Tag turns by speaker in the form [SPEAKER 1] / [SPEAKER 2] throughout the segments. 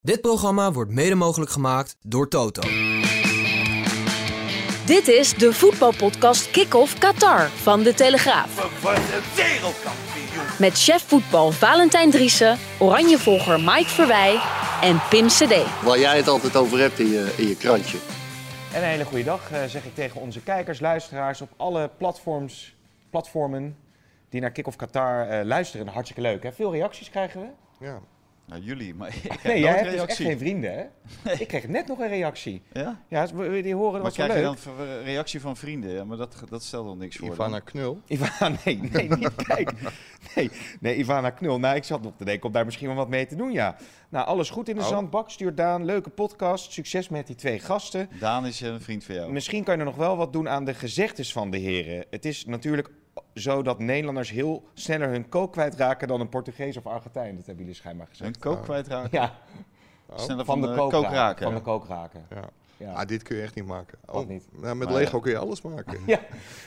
[SPEAKER 1] Dit programma wordt mede mogelijk gemaakt door Toto.
[SPEAKER 2] Dit is de voetbalpodcast Kick-Off Qatar van De Telegraaf.
[SPEAKER 3] Verworden wereldkampioen.
[SPEAKER 2] Met chef voetbal Valentijn Driessen, oranjevolger Mike Verwij en Pim Cedee.
[SPEAKER 4] Waar jij het altijd over hebt in je, in je krantje.
[SPEAKER 5] En een hele goede dag eh, zeg ik tegen onze kijkers, luisteraars op alle platforms, platformen die naar Kick-Off Qatar eh, luisteren. Hartstikke leuk. Hè? Veel reacties krijgen we.
[SPEAKER 6] Nou, jullie, maar ik heb
[SPEAKER 5] Nee,
[SPEAKER 6] nooit
[SPEAKER 5] jij hebt dus echt
[SPEAKER 6] reactie.
[SPEAKER 5] geen vrienden, hè? Ik kreeg net nog een reactie.
[SPEAKER 6] ja?
[SPEAKER 5] Ja, we- we- die horen
[SPEAKER 6] Maar
[SPEAKER 5] wat wel
[SPEAKER 6] krijg je dan
[SPEAKER 5] leuk.
[SPEAKER 6] ver- ver- reactie van vrienden? Ja, maar dat, dat stelt dan niks voor.
[SPEAKER 4] Ivana
[SPEAKER 6] dan.
[SPEAKER 4] Knul.
[SPEAKER 5] Ivana, nee, nee, niet kijk. Nee, nee, Ivana Knul. Nou, ik zat nog te denken om daar misschien wel wat mee te doen, ja. Nou, alles goed in de
[SPEAKER 6] Oh.
[SPEAKER 5] zandbak. Stuur Daan, leuke podcast. Succes met die twee gasten.
[SPEAKER 6] Daan is eh, een vriend van jou.
[SPEAKER 5] Misschien kan je er nog wel wat doen aan de gezegdes van de heren. Het is natuurlijk zo dat Nederlanders heel sneller hun kook kwijtraken dan een Portugees of Argentijn. Dat hebben jullie schijnbaar gezegd.
[SPEAKER 6] Hun eh, kook kwijtraken.
[SPEAKER 5] Ja,
[SPEAKER 6] Sneller
[SPEAKER 5] van de kook raken. Van de
[SPEAKER 6] ja.
[SPEAKER 5] kook raken.
[SPEAKER 7] Oh, Ja.
[SPEAKER 5] Ja.
[SPEAKER 7] Ah, dit kun je echt niet maken.
[SPEAKER 5] Wat niet?
[SPEAKER 7] Nou, met
[SPEAKER 6] Maar
[SPEAKER 7] Lego
[SPEAKER 6] ja.
[SPEAKER 7] kun je alles maken.
[SPEAKER 5] Ja.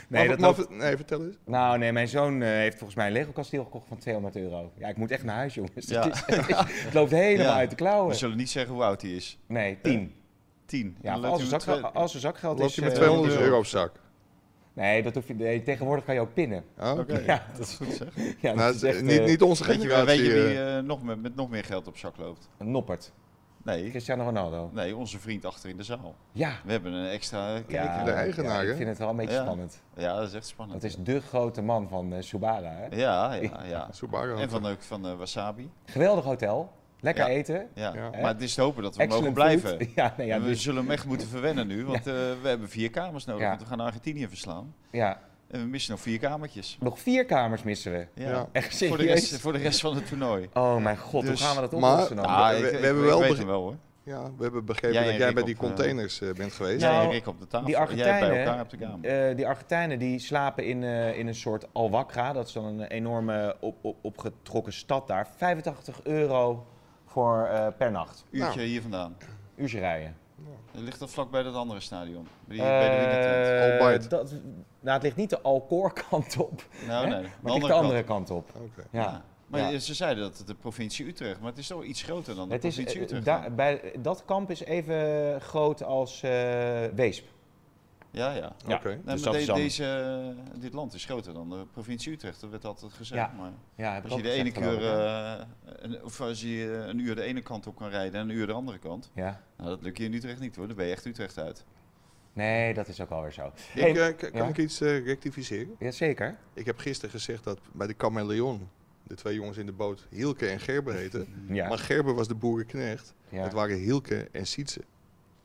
[SPEAKER 5] Nee,
[SPEAKER 7] Maar-
[SPEAKER 5] dat
[SPEAKER 7] maar-
[SPEAKER 5] loopt...
[SPEAKER 7] nee, vertel eens.
[SPEAKER 5] Nou nee, mijn zoon eh, heeft volgens mij een Lego kasteel gekocht van 200 euro. Ja, ik moet echt naar huis jongens.
[SPEAKER 6] Ja.
[SPEAKER 5] Het, is- het is- het loopt helemaal
[SPEAKER 6] Ja.
[SPEAKER 5] uit de
[SPEAKER 6] We
[SPEAKER 5] klauwen.
[SPEAKER 6] zullen niet zeggen hoe oud hij is.
[SPEAKER 5] Nee, 10.
[SPEAKER 6] Tien.
[SPEAKER 5] Ja,
[SPEAKER 6] Dan
[SPEAKER 5] maar als, er
[SPEAKER 6] laat hij hem
[SPEAKER 5] zakgeld,
[SPEAKER 6] twee-
[SPEAKER 5] als er zakgeld
[SPEAKER 7] Loop
[SPEAKER 5] is...
[SPEAKER 7] je met
[SPEAKER 5] eh,
[SPEAKER 7] 200 euro op zak.
[SPEAKER 5] Nee, dat hoef je, nee, tegenwoordig kan je ook pinnen.
[SPEAKER 7] Oh, oké.
[SPEAKER 6] Oké,
[SPEAKER 5] Ja,
[SPEAKER 6] dat is goed zeg. Weet
[SPEAKER 5] Ja,
[SPEAKER 7] Nou,
[SPEAKER 5] dat is echt,
[SPEAKER 7] niet,
[SPEAKER 5] eh,
[SPEAKER 7] niet onze
[SPEAKER 6] je, wel-
[SPEAKER 7] generatie.
[SPEAKER 6] weet je wie
[SPEAKER 7] eh,
[SPEAKER 6] eh, nog met, met nog meer geld op zak loopt?
[SPEAKER 5] een noppert.
[SPEAKER 6] Nee,
[SPEAKER 5] Cristiano Ronaldo.
[SPEAKER 6] nee, onze vriend achter in de zaal.
[SPEAKER 5] Ja.
[SPEAKER 6] We hebben een extra eh,
[SPEAKER 5] Ja,
[SPEAKER 6] kijker.
[SPEAKER 7] de eigenaar,
[SPEAKER 5] ja, ik
[SPEAKER 7] hè?
[SPEAKER 5] vind het wel een beetje
[SPEAKER 6] Ja.
[SPEAKER 5] spannend.
[SPEAKER 6] Ja, dat is echt spannend.
[SPEAKER 5] Dat is de grote man van eh Subara. Hè?
[SPEAKER 6] Ja, ja, ja.
[SPEAKER 7] Subaru.
[SPEAKER 6] En van, ook van eh, Wasabi.
[SPEAKER 5] Geweldig hotel, lekker
[SPEAKER 6] Ja.
[SPEAKER 5] eten.
[SPEAKER 6] Ja.
[SPEAKER 7] Ja.
[SPEAKER 6] Maar het is te hopen dat we
[SPEAKER 5] excellent
[SPEAKER 6] mogen
[SPEAKER 5] food.
[SPEAKER 6] blijven.
[SPEAKER 5] Ja, nee, ja,
[SPEAKER 6] we
[SPEAKER 5] dus,
[SPEAKER 6] zullen hem echt moeten verwennen nu, want eh, we hebben vier kamers nodig.
[SPEAKER 5] Ja.
[SPEAKER 6] Want we gaan Argentinië verslaan.
[SPEAKER 5] ja,
[SPEAKER 6] En we missen nog vier kamertjes.
[SPEAKER 5] nog vier kamers missen we.
[SPEAKER 6] Ja.
[SPEAKER 7] Ja.
[SPEAKER 5] Echt
[SPEAKER 6] Voor, de rest,
[SPEAKER 5] serieus.
[SPEAKER 6] voor de rest van het toernooi.
[SPEAKER 5] Oh mijn god,
[SPEAKER 6] Dus-
[SPEAKER 5] hoe gaan we dat
[SPEAKER 7] maar-
[SPEAKER 5] oplossen dan?
[SPEAKER 7] Ah,
[SPEAKER 6] Ja,
[SPEAKER 7] we- we
[SPEAKER 6] ik,
[SPEAKER 7] hebben
[SPEAKER 6] ik-
[SPEAKER 7] wel
[SPEAKER 6] ik weet
[SPEAKER 7] beg-
[SPEAKER 6] hem wel hoor.
[SPEAKER 7] ja, we hebben begrepen
[SPEAKER 6] Jij en
[SPEAKER 7] dat jij
[SPEAKER 6] Rick
[SPEAKER 7] bij die
[SPEAKER 6] op, eh,
[SPEAKER 7] containers eh, bent geweest.
[SPEAKER 6] Jij en
[SPEAKER 5] Nou,
[SPEAKER 6] Rick op de tafel.
[SPEAKER 5] die
[SPEAKER 6] Jij bij
[SPEAKER 5] Argentijnen,
[SPEAKER 6] elkaar op de kamer.
[SPEAKER 7] Nou.
[SPEAKER 5] eh, die Argentijnen die slapen in, eh, in een soort alwakra. Dat is dan een enorme op, op, opgetrokken stad daar. 85 euro voor, eh, per nacht.
[SPEAKER 6] Uurtje hier vandaan.
[SPEAKER 5] Uurtje rijden.
[SPEAKER 6] Dat ligt dat vlak bij dat andere stadion. Bij, die, bij de wielertent.
[SPEAKER 5] Eh,
[SPEAKER 7] Albeit.
[SPEAKER 5] dat, nou, het ligt niet de Alcor kant op.
[SPEAKER 6] Nou,
[SPEAKER 5] hè?
[SPEAKER 6] nee, de
[SPEAKER 5] Maar het ligt
[SPEAKER 6] andere
[SPEAKER 5] de andere
[SPEAKER 6] kant.
[SPEAKER 5] kant, op.
[SPEAKER 7] Oké.
[SPEAKER 5] Ja.
[SPEAKER 6] Ja. Maar
[SPEAKER 5] Ja.
[SPEAKER 6] ze zeiden dat het de provincie Utrecht, maar het is toch iets groter dan de
[SPEAKER 5] Het is,
[SPEAKER 6] provincie
[SPEAKER 5] eh,
[SPEAKER 6] Utrecht.
[SPEAKER 5] da-
[SPEAKER 6] dan.
[SPEAKER 5] bij, dat kamp is even groot als eh, Weesp.
[SPEAKER 6] Ja, ja.
[SPEAKER 5] Ja.
[SPEAKER 7] Oké.
[SPEAKER 6] Nee,
[SPEAKER 5] Dus dat
[SPEAKER 6] maar de-
[SPEAKER 5] is dan-
[SPEAKER 6] deze, eh, dit land is groter dan de provincie Utrecht, dat werd altijd gezegd.
[SPEAKER 5] Ja.
[SPEAKER 6] Maar
[SPEAKER 5] Ja, heb ik
[SPEAKER 6] Als je
[SPEAKER 5] ook
[SPEAKER 6] de ene
[SPEAKER 5] gezegd, geloof
[SPEAKER 6] keer,
[SPEAKER 5] ik, hè?
[SPEAKER 6] eh, een, of als je eh, een uur de ene kant op kan rijden en een uur de andere kant,
[SPEAKER 5] Ja.
[SPEAKER 6] nou, dat lukt je in Utrecht niet hoor, dan ben je echt Utrecht uit.
[SPEAKER 5] Nee, dat is ook alweer zo.
[SPEAKER 7] Ik,
[SPEAKER 5] Hey,
[SPEAKER 7] eh, k- kan
[SPEAKER 5] ja.
[SPEAKER 7] ik iets eh, rectificeren?
[SPEAKER 5] Jazeker.
[SPEAKER 7] Ik heb gisteren gezegd dat bij de Chameleon, de twee jongens in de boot, Hielke en Gerber heten.
[SPEAKER 5] Ja.
[SPEAKER 7] Maar Gerber was de boerenknecht.
[SPEAKER 5] Ja.
[SPEAKER 7] Het waren Hielke en Sietse.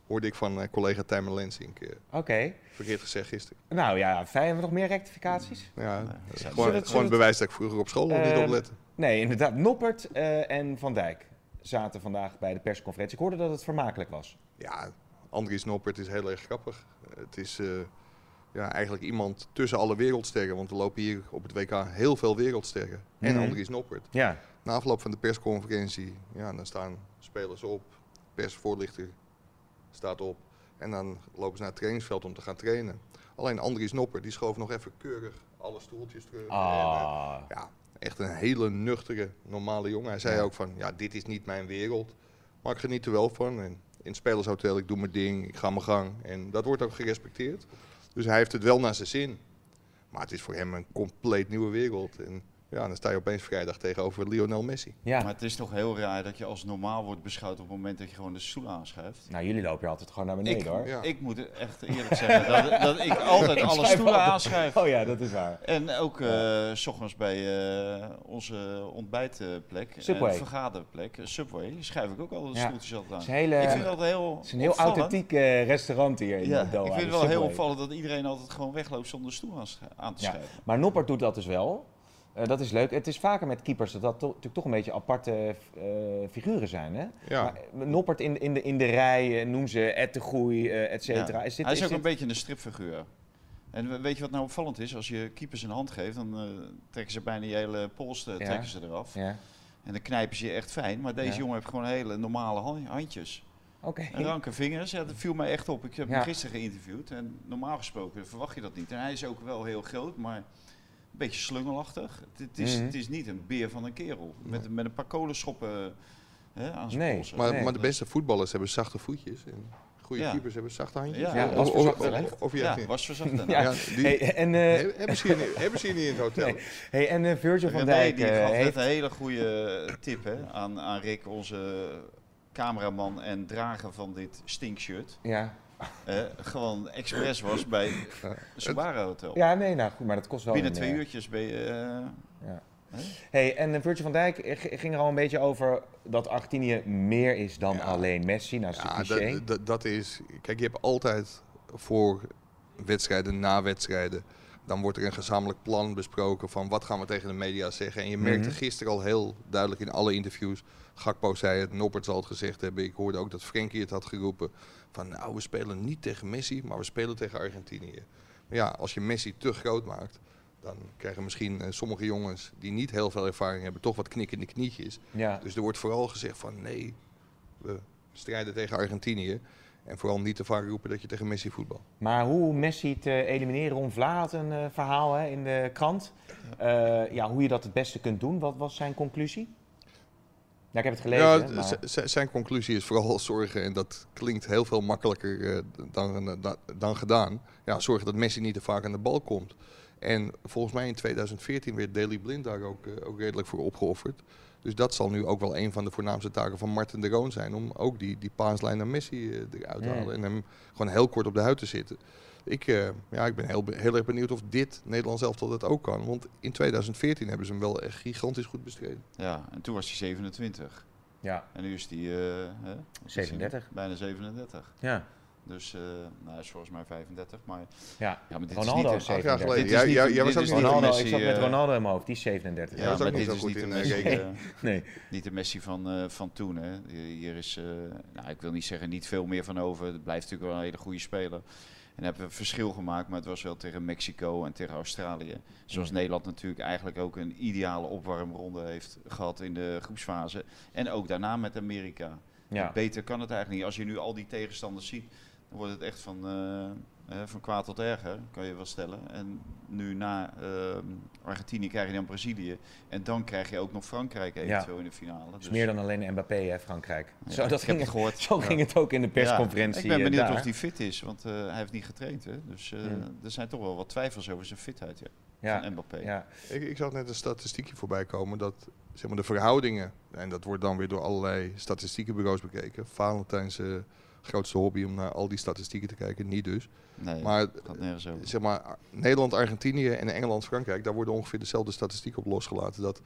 [SPEAKER 7] Hoorde ik van eh, collega Tijmen Lensink. eh,
[SPEAKER 5] Oké.
[SPEAKER 7] verkeerd gezegd gisteren.
[SPEAKER 5] Nou ja, fijn. Hebben we nog meer rectificaties?
[SPEAKER 7] Ja, eh,
[SPEAKER 6] dat zou-
[SPEAKER 7] gewoon,
[SPEAKER 5] Zullen we-
[SPEAKER 7] gewoon een bewijs dat ik vroeger op school nog
[SPEAKER 5] Ehm,
[SPEAKER 7] niet oplet.
[SPEAKER 5] Nee, inderdaad. Noppert eh, en Van Dijk zaten vandaag bij de persconferentie. Ik hoorde dat het vermakelijk was.
[SPEAKER 7] Ja, Andries Noppert is heel erg grappig. Het is eh, ja, eigenlijk iemand tussen alle wereldsterren. Want er lopen hier op het WK heel veel wereldsterren. En
[SPEAKER 5] Mhm.
[SPEAKER 7] Andries Noppert.
[SPEAKER 5] Ja.
[SPEAKER 7] Na afloop van de persconferentie, ja, dan staan spelers op. Persvoorlichter staat op. En dan lopen ze naar het trainingsveld om te gaan trainen. Alleen Andries Noppert, die schoof nog even keurig alle stoeltjes terug. En, eh,
[SPEAKER 5] Ah.
[SPEAKER 7] ja, echt een hele nuchtere, normale jongen. Hij zei ook van, ja, dit is niet mijn wereld. Maar ik geniet er wel van. En in het spelershotel, ik doe mijn ding, ik ga mijn gang. En dat wordt ook gerespecteerd. Dus hij heeft het wel naar zijn zin. Maar het is voor hem een compleet nieuwe wereld. En ja, dan sta je opeens vrijdag tegenover Lionel Messi.
[SPEAKER 5] Ja.
[SPEAKER 6] Maar het is toch heel raar dat je als normaal wordt beschouwd op het moment dat je gewoon de stoel aanschuift.
[SPEAKER 5] Nou, jullie lopen hier altijd gewoon naar beneden,
[SPEAKER 6] Ik,
[SPEAKER 5] hoor.
[SPEAKER 7] Ja.
[SPEAKER 6] ik moet echt eerlijk zeggen dat, dat ik altijd alle stoelen aanschuif.
[SPEAKER 5] Oh ja, dat is waar.
[SPEAKER 6] En ook eh, s ochtends bij eh, onze ontbijtplek,
[SPEAKER 5] Subway.
[SPEAKER 6] en vergaderplek, eh, Subway, schuif ik ook altijd de
[SPEAKER 5] Ja.
[SPEAKER 6] stoeltjes altijd aan.
[SPEAKER 5] Het is een hele-
[SPEAKER 6] ik vind dat heel
[SPEAKER 5] Het is een heel
[SPEAKER 6] opvallend.
[SPEAKER 5] authentiek eh, restaurant hier in
[SPEAKER 6] Ja,
[SPEAKER 5] Doha.
[SPEAKER 6] ik vind
[SPEAKER 5] de
[SPEAKER 6] het wel heel
[SPEAKER 5] Subway.
[SPEAKER 6] opvallend dat iedereen altijd gewoon wegloopt zonder stoel aan, sch- aan te
[SPEAKER 5] Ja.
[SPEAKER 6] schuiven.
[SPEAKER 5] Maar Noppert doet dat dus wel. Eh, dat is leuk. Het is vaker met keepers dat dat to- natuurlijk toch een beetje aparte eh, figuren zijn. Hè?
[SPEAKER 7] Ja.
[SPEAKER 5] Maar, eh, Noppert in, in, de, in de rij, eh, noem ze Ed de Groei, eh, et cetera.
[SPEAKER 6] Ja.
[SPEAKER 5] Is dit,
[SPEAKER 6] hij is, ook
[SPEAKER 5] dit-
[SPEAKER 6] een beetje een stripfiguur. En we- weet je wat nou opvallend is? Als je keepers een hand geeft, dan eh, trekken ze bijna je hele pols eh,
[SPEAKER 5] Ja.
[SPEAKER 6] trekken ze eraf.
[SPEAKER 5] Ja,
[SPEAKER 6] En dan knijpen ze je echt fijn. Maar deze
[SPEAKER 5] Ja.
[SPEAKER 6] jongen heeft gewoon hele normale han- handjes.
[SPEAKER 5] oké.
[SPEAKER 6] En ranke vingers, ja, dat viel mij echt op. Ik heb
[SPEAKER 5] Ja.
[SPEAKER 6] hem gisteren geïnterviewd en normaal gesproken verwacht je dat niet. En hij is ook wel heel groot, maar een beetje slungelachtig. Het, het, is,
[SPEAKER 5] Mhm.
[SPEAKER 6] het is niet een beer van een kerel. Met, met een paar kolenschoppen eh, hè, aan zijn
[SPEAKER 5] Nee,
[SPEAKER 6] polsen.
[SPEAKER 7] Maar,
[SPEAKER 5] Nee.
[SPEAKER 7] maar de beste voetballers hebben zachte voetjes. En goede
[SPEAKER 6] Ja.
[SPEAKER 7] keepers hebben zachte handjes.
[SPEAKER 6] Ja,
[SPEAKER 5] Ja,
[SPEAKER 7] Of-
[SPEAKER 5] was
[SPEAKER 7] of-
[SPEAKER 5] verzacht
[SPEAKER 7] of-
[SPEAKER 5] wellicht.
[SPEAKER 7] of je
[SPEAKER 6] ja,
[SPEAKER 7] hebt niet.
[SPEAKER 6] was verzacht daarna.
[SPEAKER 5] Ja.
[SPEAKER 7] Ja, die-
[SPEAKER 5] Hey, en eh,
[SPEAKER 7] He- Hebben ze, hier niet, hebben ze hier niet in het hotel?
[SPEAKER 5] Nee. hey, en eh, Virgil van
[SPEAKER 6] René,
[SPEAKER 5] Dijk
[SPEAKER 6] die
[SPEAKER 5] eh,
[SPEAKER 6] gaf net
[SPEAKER 5] heeft...
[SPEAKER 6] een hele goede tip hè, aan, aan Rick, onze cameraman en drager van dit stinkshirt.
[SPEAKER 5] Ja.
[SPEAKER 6] Eh, gewoon expres was bij Subaru Hotel.
[SPEAKER 5] ja, nee, nou goed, maar dat kost wel
[SPEAKER 6] Binnen
[SPEAKER 5] een,
[SPEAKER 6] twee
[SPEAKER 5] eh,
[SPEAKER 6] uurtjes ben je... eh,
[SPEAKER 5] Hey, en eh, Virgil van Dijk eh, g- ging er al een beetje over dat Argentinië meer is dan
[SPEAKER 7] Ja.
[SPEAKER 5] alleen Messi. Nou, dat is
[SPEAKER 7] Ja,
[SPEAKER 5] een cliché.
[SPEAKER 7] dat, dat, dat is. Kijk, je hebt altijd voor wedstrijden, na wedstrijden. Dan wordt er een gezamenlijk plan besproken van wat gaan we tegen de media zeggen. En je merkte
[SPEAKER 5] Mhm.
[SPEAKER 7] gisteren al heel duidelijk in alle interviews. Gakpo zei het, Noppert zal het gezegd hebben. Ik hoorde ook dat Frenkie het had geroepen. Van nou, we spelen niet tegen Messi, maar we spelen tegen Argentinië. Maar ja, als je Messi te groot maakt, dan krijgen misschien eh, sommige jongens die niet heel veel ervaring hebben, toch wat knikkende knietjes.
[SPEAKER 5] Ja.
[SPEAKER 7] Dus er wordt vooral gezegd van nee, we strijden tegen Argentinië. En vooral niet te vaak roepen dat je tegen Messi voetbal.
[SPEAKER 5] Maar hoe Messi te elimineren, Ron Vlaar had een eh, verhaal hè, in de krant. Eh, ja, hoe je dat het beste kunt doen, wat was zijn conclusie? Ja, ik heb het gelezen.
[SPEAKER 7] Ja,
[SPEAKER 5] hè, maar-
[SPEAKER 7] z- z- zijn conclusie is vooral zorgen, en dat klinkt heel veel makkelijker eh, dan, dan, dan gedaan. Ja, zorgen dat Messi niet te vaak aan de bal komt. En volgens mij in 2014 werd Daley Blind daar ook, eh, ook redelijk voor opgeofferd. Dus dat zal nu ook wel een van de voornaamste taken van Martin de Roon zijn. Om ook die, die paaslijn naar Messi eh, eruit te
[SPEAKER 5] Ja.
[SPEAKER 7] halen. En hem gewoon heel kort op de huid te zitten. Ik, eh, ja, ik ben heel, be- heel erg benieuwd of dit Nederlands elftal dat ook kan. Want in 2014 hebben ze hem wel echt gigantisch goed bestreden.
[SPEAKER 6] Ja, en toen was hij 27.
[SPEAKER 5] ja.
[SPEAKER 6] En nu is hij... eh, hè, wat is hij nu?
[SPEAKER 5] 37.
[SPEAKER 6] Bijna 37.
[SPEAKER 5] ja.
[SPEAKER 6] Dus, eh nou, hij is volgens mij 35. Maar,
[SPEAKER 5] ja.
[SPEAKER 6] ja, maar dit
[SPEAKER 5] Ronaldo
[SPEAKER 6] is
[SPEAKER 5] is
[SPEAKER 6] niet...
[SPEAKER 7] Acht jaar
[SPEAKER 5] 37.
[SPEAKER 7] geleden.
[SPEAKER 6] Dit is
[SPEAKER 7] Oh, Jij,
[SPEAKER 6] niet
[SPEAKER 7] jij,
[SPEAKER 6] een-
[SPEAKER 7] jij was
[SPEAKER 6] dit is
[SPEAKER 7] ook niet
[SPEAKER 6] niet een
[SPEAKER 5] Ronaldo,
[SPEAKER 6] Messi,
[SPEAKER 5] ik zat met
[SPEAKER 6] eh,
[SPEAKER 5] Ronaldo in mijn hoofd, die is 37.
[SPEAKER 7] Ja, dat is ook
[SPEAKER 6] maar dit
[SPEAKER 7] niet zo
[SPEAKER 6] is
[SPEAKER 7] goed
[SPEAKER 6] niet de
[SPEAKER 7] in, eh,
[SPEAKER 6] Messi,
[SPEAKER 7] rekenen.
[SPEAKER 6] eh,
[SPEAKER 5] Nee.
[SPEAKER 6] niet de Messi van, eh, van toen. Hè. Hier is, eh, nou, ik wil niet zeggen, niet veel meer van over. Het blijft natuurlijk wel een hele goede speler. En hebben we verschil gemaakt, maar het was wel tegen Mexico en tegen Australië. Zoals Nederland natuurlijk eigenlijk ook een ideale opwarmronde heeft gehad in de groepsfase. En ook daarna met Amerika.
[SPEAKER 5] Ja.
[SPEAKER 6] Beter kan het eigenlijk niet. Als je nu al die tegenstanders ziet, dan wordt het echt van, eh, eh, van kwaad tot erger, kan je wel stellen. En nu na eh, Argentinië krijg je dan Brazilië. En dan krijg je ook nog Frankrijk eventueel in de finale. dus-
[SPEAKER 5] Het is meer dan alleen Mbappé, hè, Frankrijk.
[SPEAKER 6] Ja,
[SPEAKER 5] zo
[SPEAKER 6] ik
[SPEAKER 5] dat
[SPEAKER 6] heb
[SPEAKER 5] ging,
[SPEAKER 6] het gehoord.
[SPEAKER 5] zo ging het ook in de persconferentie.
[SPEAKER 6] Ja, ik ben
[SPEAKER 5] eh,
[SPEAKER 6] benieuwd
[SPEAKER 5] daar.
[SPEAKER 6] of hij fit is, want eh, hij heeft niet getraind. Hè? Dus eh,
[SPEAKER 5] Hmm.
[SPEAKER 6] er zijn toch wel wat twijfels over zijn fitheid ja,
[SPEAKER 5] Ja.
[SPEAKER 6] van Mbappé.
[SPEAKER 5] Ja.
[SPEAKER 7] Ik, ik zag net een statistiekje voorbij komen dat zeg maar, de verhoudingen, en dat wordt dan weer door allerlei statistiekenbureaus bekeken. Valentijn's eh, grootste hobby om naar al die statistieken te kijken, niet dus.
[SPEAKER 6] Nee, maar,
[SPEAKER 7] Maar eh,
[SPEAKER 6] gaat nergens over.
[SPEAKER 7] zeg maar, Ar- Nederland, Argentinië en Engeland, Frankrijk, daar worden ongeveer dezelfde statistieken op losgelaten. Dat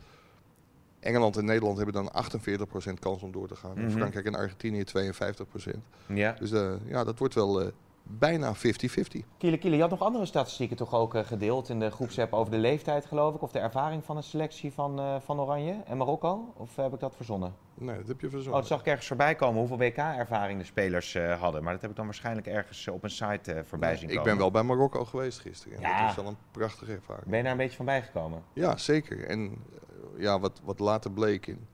[SPEAKER 7] Engeland en Nederland hebben dan 48% kans om door te gaan. en
[SPEAKER 5] Mhm.
[SPEAKER 7] Frankrijk en Argentinië 52%.
[SPEAKER 5] ja.
[SPEAKER 7] Dus eh, ja, dat wordt wel eh, bijna 50-50.
[SPEAKER 5] Kiele, Kiele, je had nog andere statistieken toch ook eh, gedeeld in de groepsapp over de leeftijd, geloof ik, of de ervaring van een selectie van, eh, van Oranje en Marokko? Of heb ik dat verzonnen?
[SPEAKER 7] Nee, dat heb je
[SPEAKER 5] Oh,
[SPEAKER 7] verzonnen.
[SPEAKER 5] dat zag ik ergens voorbij komen, hoeveel WK-ervaring de spelers eh, hadden. Maar dat heb ik dan waarschijnlijk ergens eh, op een site eh, voorbij zien komen.
[SPEAKER 7] ik ben wel bij Marokko geweest gisteren. En
[SPEAKER 5] Ja.
[SPEAKER 7] Dat is wel een prachtige ervaring.
[SPEAKER 5] Ben je daar een beetje van bijgekomen?
[SPEAKER 7] Ja, zeker. En eh, ja, wat, wat later bleek, in,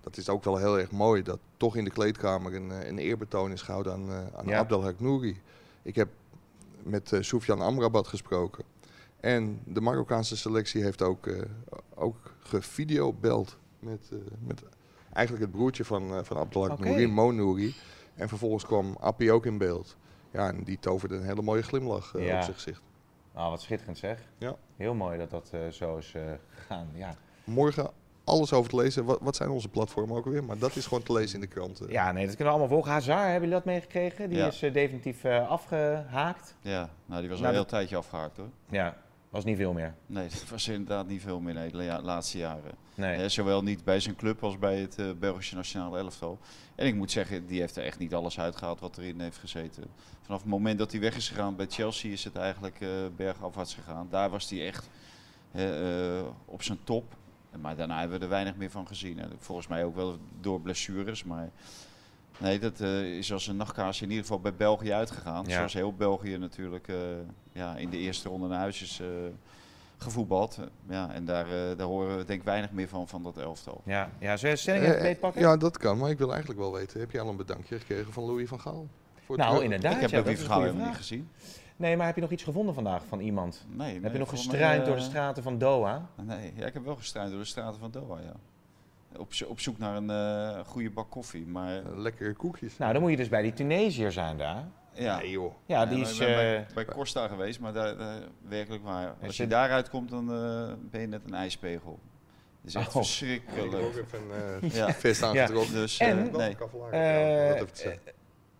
[SPEAKER 7] dat is ook wel heel erg mooi, dat toch in de kleedkamer een, eh, een eerbetoon is gehouden aan, eh aan
[SPEAKER 5] Ja.
[SPEAKER 7] Abdelhak Nouri. Ik heb met eh Soufiane Amrabat gesproken. En de Marokkaanse selectie heeft ook, eh ook gevideobeld met, eh, met eigenlijk het broertje van, eh van Abdelhak
[SPEAKER 5] Oké.
[SPEAKER 7] Nouri, Mo Nouri. En vervolgens kwam Appie ook in beeld. Ja, en die toverde een hele mooie glimlach eh,
[SPEAKER 5] Ja.
[SPEAKER 7] op zijn gezicht.
[SPEAKER 5] Ah, wat schitterend zeg.
[SPEAKER 7] Ja.
[SPEAKER 5] Heel mooi dat dat eh, zo is eh, gegaan. Ja.
[SPEAKER 7] morgen alles over te lezen. Wat, wat zijn onze platformen ook weer? Maar dat is gewoon te lezen in de kranten.
[SPEAKER 5] ja, nee, dat kunnen we allemaal volgen. Hazard, hebben jullie dat meegekregen? Die
[SPEAKER 6] Ja.
[SPEAKER 5] is eh, definitief eh, afgehaakt.
[SPEAKER 6] Ja, nou, die was
[SPEAKER 5] Nou,
[SPEAKER 6] al een heel
[SPEAKER 5] dat-
[SPEAKER 6] tijdje afgehaakt hoor.
[SPEAKER 5] Ja, was niet veel meer.
[SPEAKER 6] Nee, dat was inderdaad niet veel meer nee, de la- laatste jaren.
[SPEAKER 5] Nee.
[SPEAKER 6] Hè, zowel niet bij zijn club als bij het eh, Belgische nationale elftal. En ik moet zeggen, die heeft er echt niet alles uitgehaald wat erin heeft gezeten. Vanaf het moment dat hij weg is gegaan bij Chelsea is het eigenlijk eh, bergafwaarts gegaan. Daar was hij echt eh, eh, op zijn top. Maar daarna hebben we er weinig meer van gezien. En volgens mij ook wel door blessures. Maar nee, dat eh, is als een nachtkaars in ieder geval bij België uitgegaan.
[SPEAKER 5] Ja.
[SPEAKER 6] Zoals heel België natuurlijk eh, ja, in de eerste ronde naar huis is eh, gevoetbald. Ja, en daar, eh, daar horen we denk ik weinig meer van, van dat elftal.
[SPEAKER 5] Ja, ja. Zullen we de stelling even
[SPEAKER 7] Eh,
[SPEAKER 5] beet pakken?
[SPEAKER 7] Ja, dat kan, maar ik wil eigenlijk wel weten, heb je al een bedankje gekregen van Louis van Gaal? Voor het
[SPEAKER 5] Nou,
[SPEAKER 7] terug-
[SPEAKER 5] inderdaad.
[SPEAKER 6] ik heb
[SPEAKER 5] ja,
[SPEAKER 6] ook
[SPEAKER 5] dat
[SPEAKER 6] die
[SPEAKER 5] is een
[SPEAKER 6] verhaal
[SPEAKER 5] goede
[SPEAKER 6] helemaal
[SPEAKER 5] vraag.
[SPEAKER 6] niet gezien.
[SPEAKER 5] Nee, maar heb je nog iets gevonden vandaag van iemand?
[SPEAKER 6] Nee, eh,
[SPEAKER 5] heb je nog gestruind
[SPEAKER 6] gestruind
[SPEAKER 5] door de straten van Doha?
[SPEAKER 6] Nee, ja, ik heb wel gestruind door de straten van Doha, ja. Op, zo- op zoek naar een eh, goede bak koffie, maar
[SPEAKER 7] Eh, lekkere koekjes.
[SPEAKER 5] Nou, dan moet je dus bij die Tunesiër zijn daar.
[SPEAKER 6] ja.
[SPEAKER 7] Nee joh.
[SPEAKER 5] Ja, die
[SPEAKER 6] Ja,
[SPEAKER 5] is...
[SPEAKER 6] ik ben bij,
[SPEAKER 5] eh,
[SPEAKER 6] bij Costa geweest, maar daar, daar- werkelijk waar. Als je
[SPEAKER 5] zit-
[SPEAKER 6] daaruit komt, dan eh, ben je net een ijspegel. Dat is echt
[SPEAKER 5] Oh.
[SPEAKER 7] Ik heb ook
[SPEAKER 6] verschrikkelijk.
[SPEAKER 7] even eh, een
[SPEAKER 6] Ja.
[SPEAKER 7] vest aangetrokken.
[SPEAKER 6] Dus,
[SPEAKER 5] En-
[SPEAKER 6] eh,
[SPEAKER 7] Wel
[SPEAKER 6] nee.
[SPEAKER 7] een kavelaren,
[SPEAKER 5] Eh,
[SPEAKER 7] ja, om dat even te zeggen.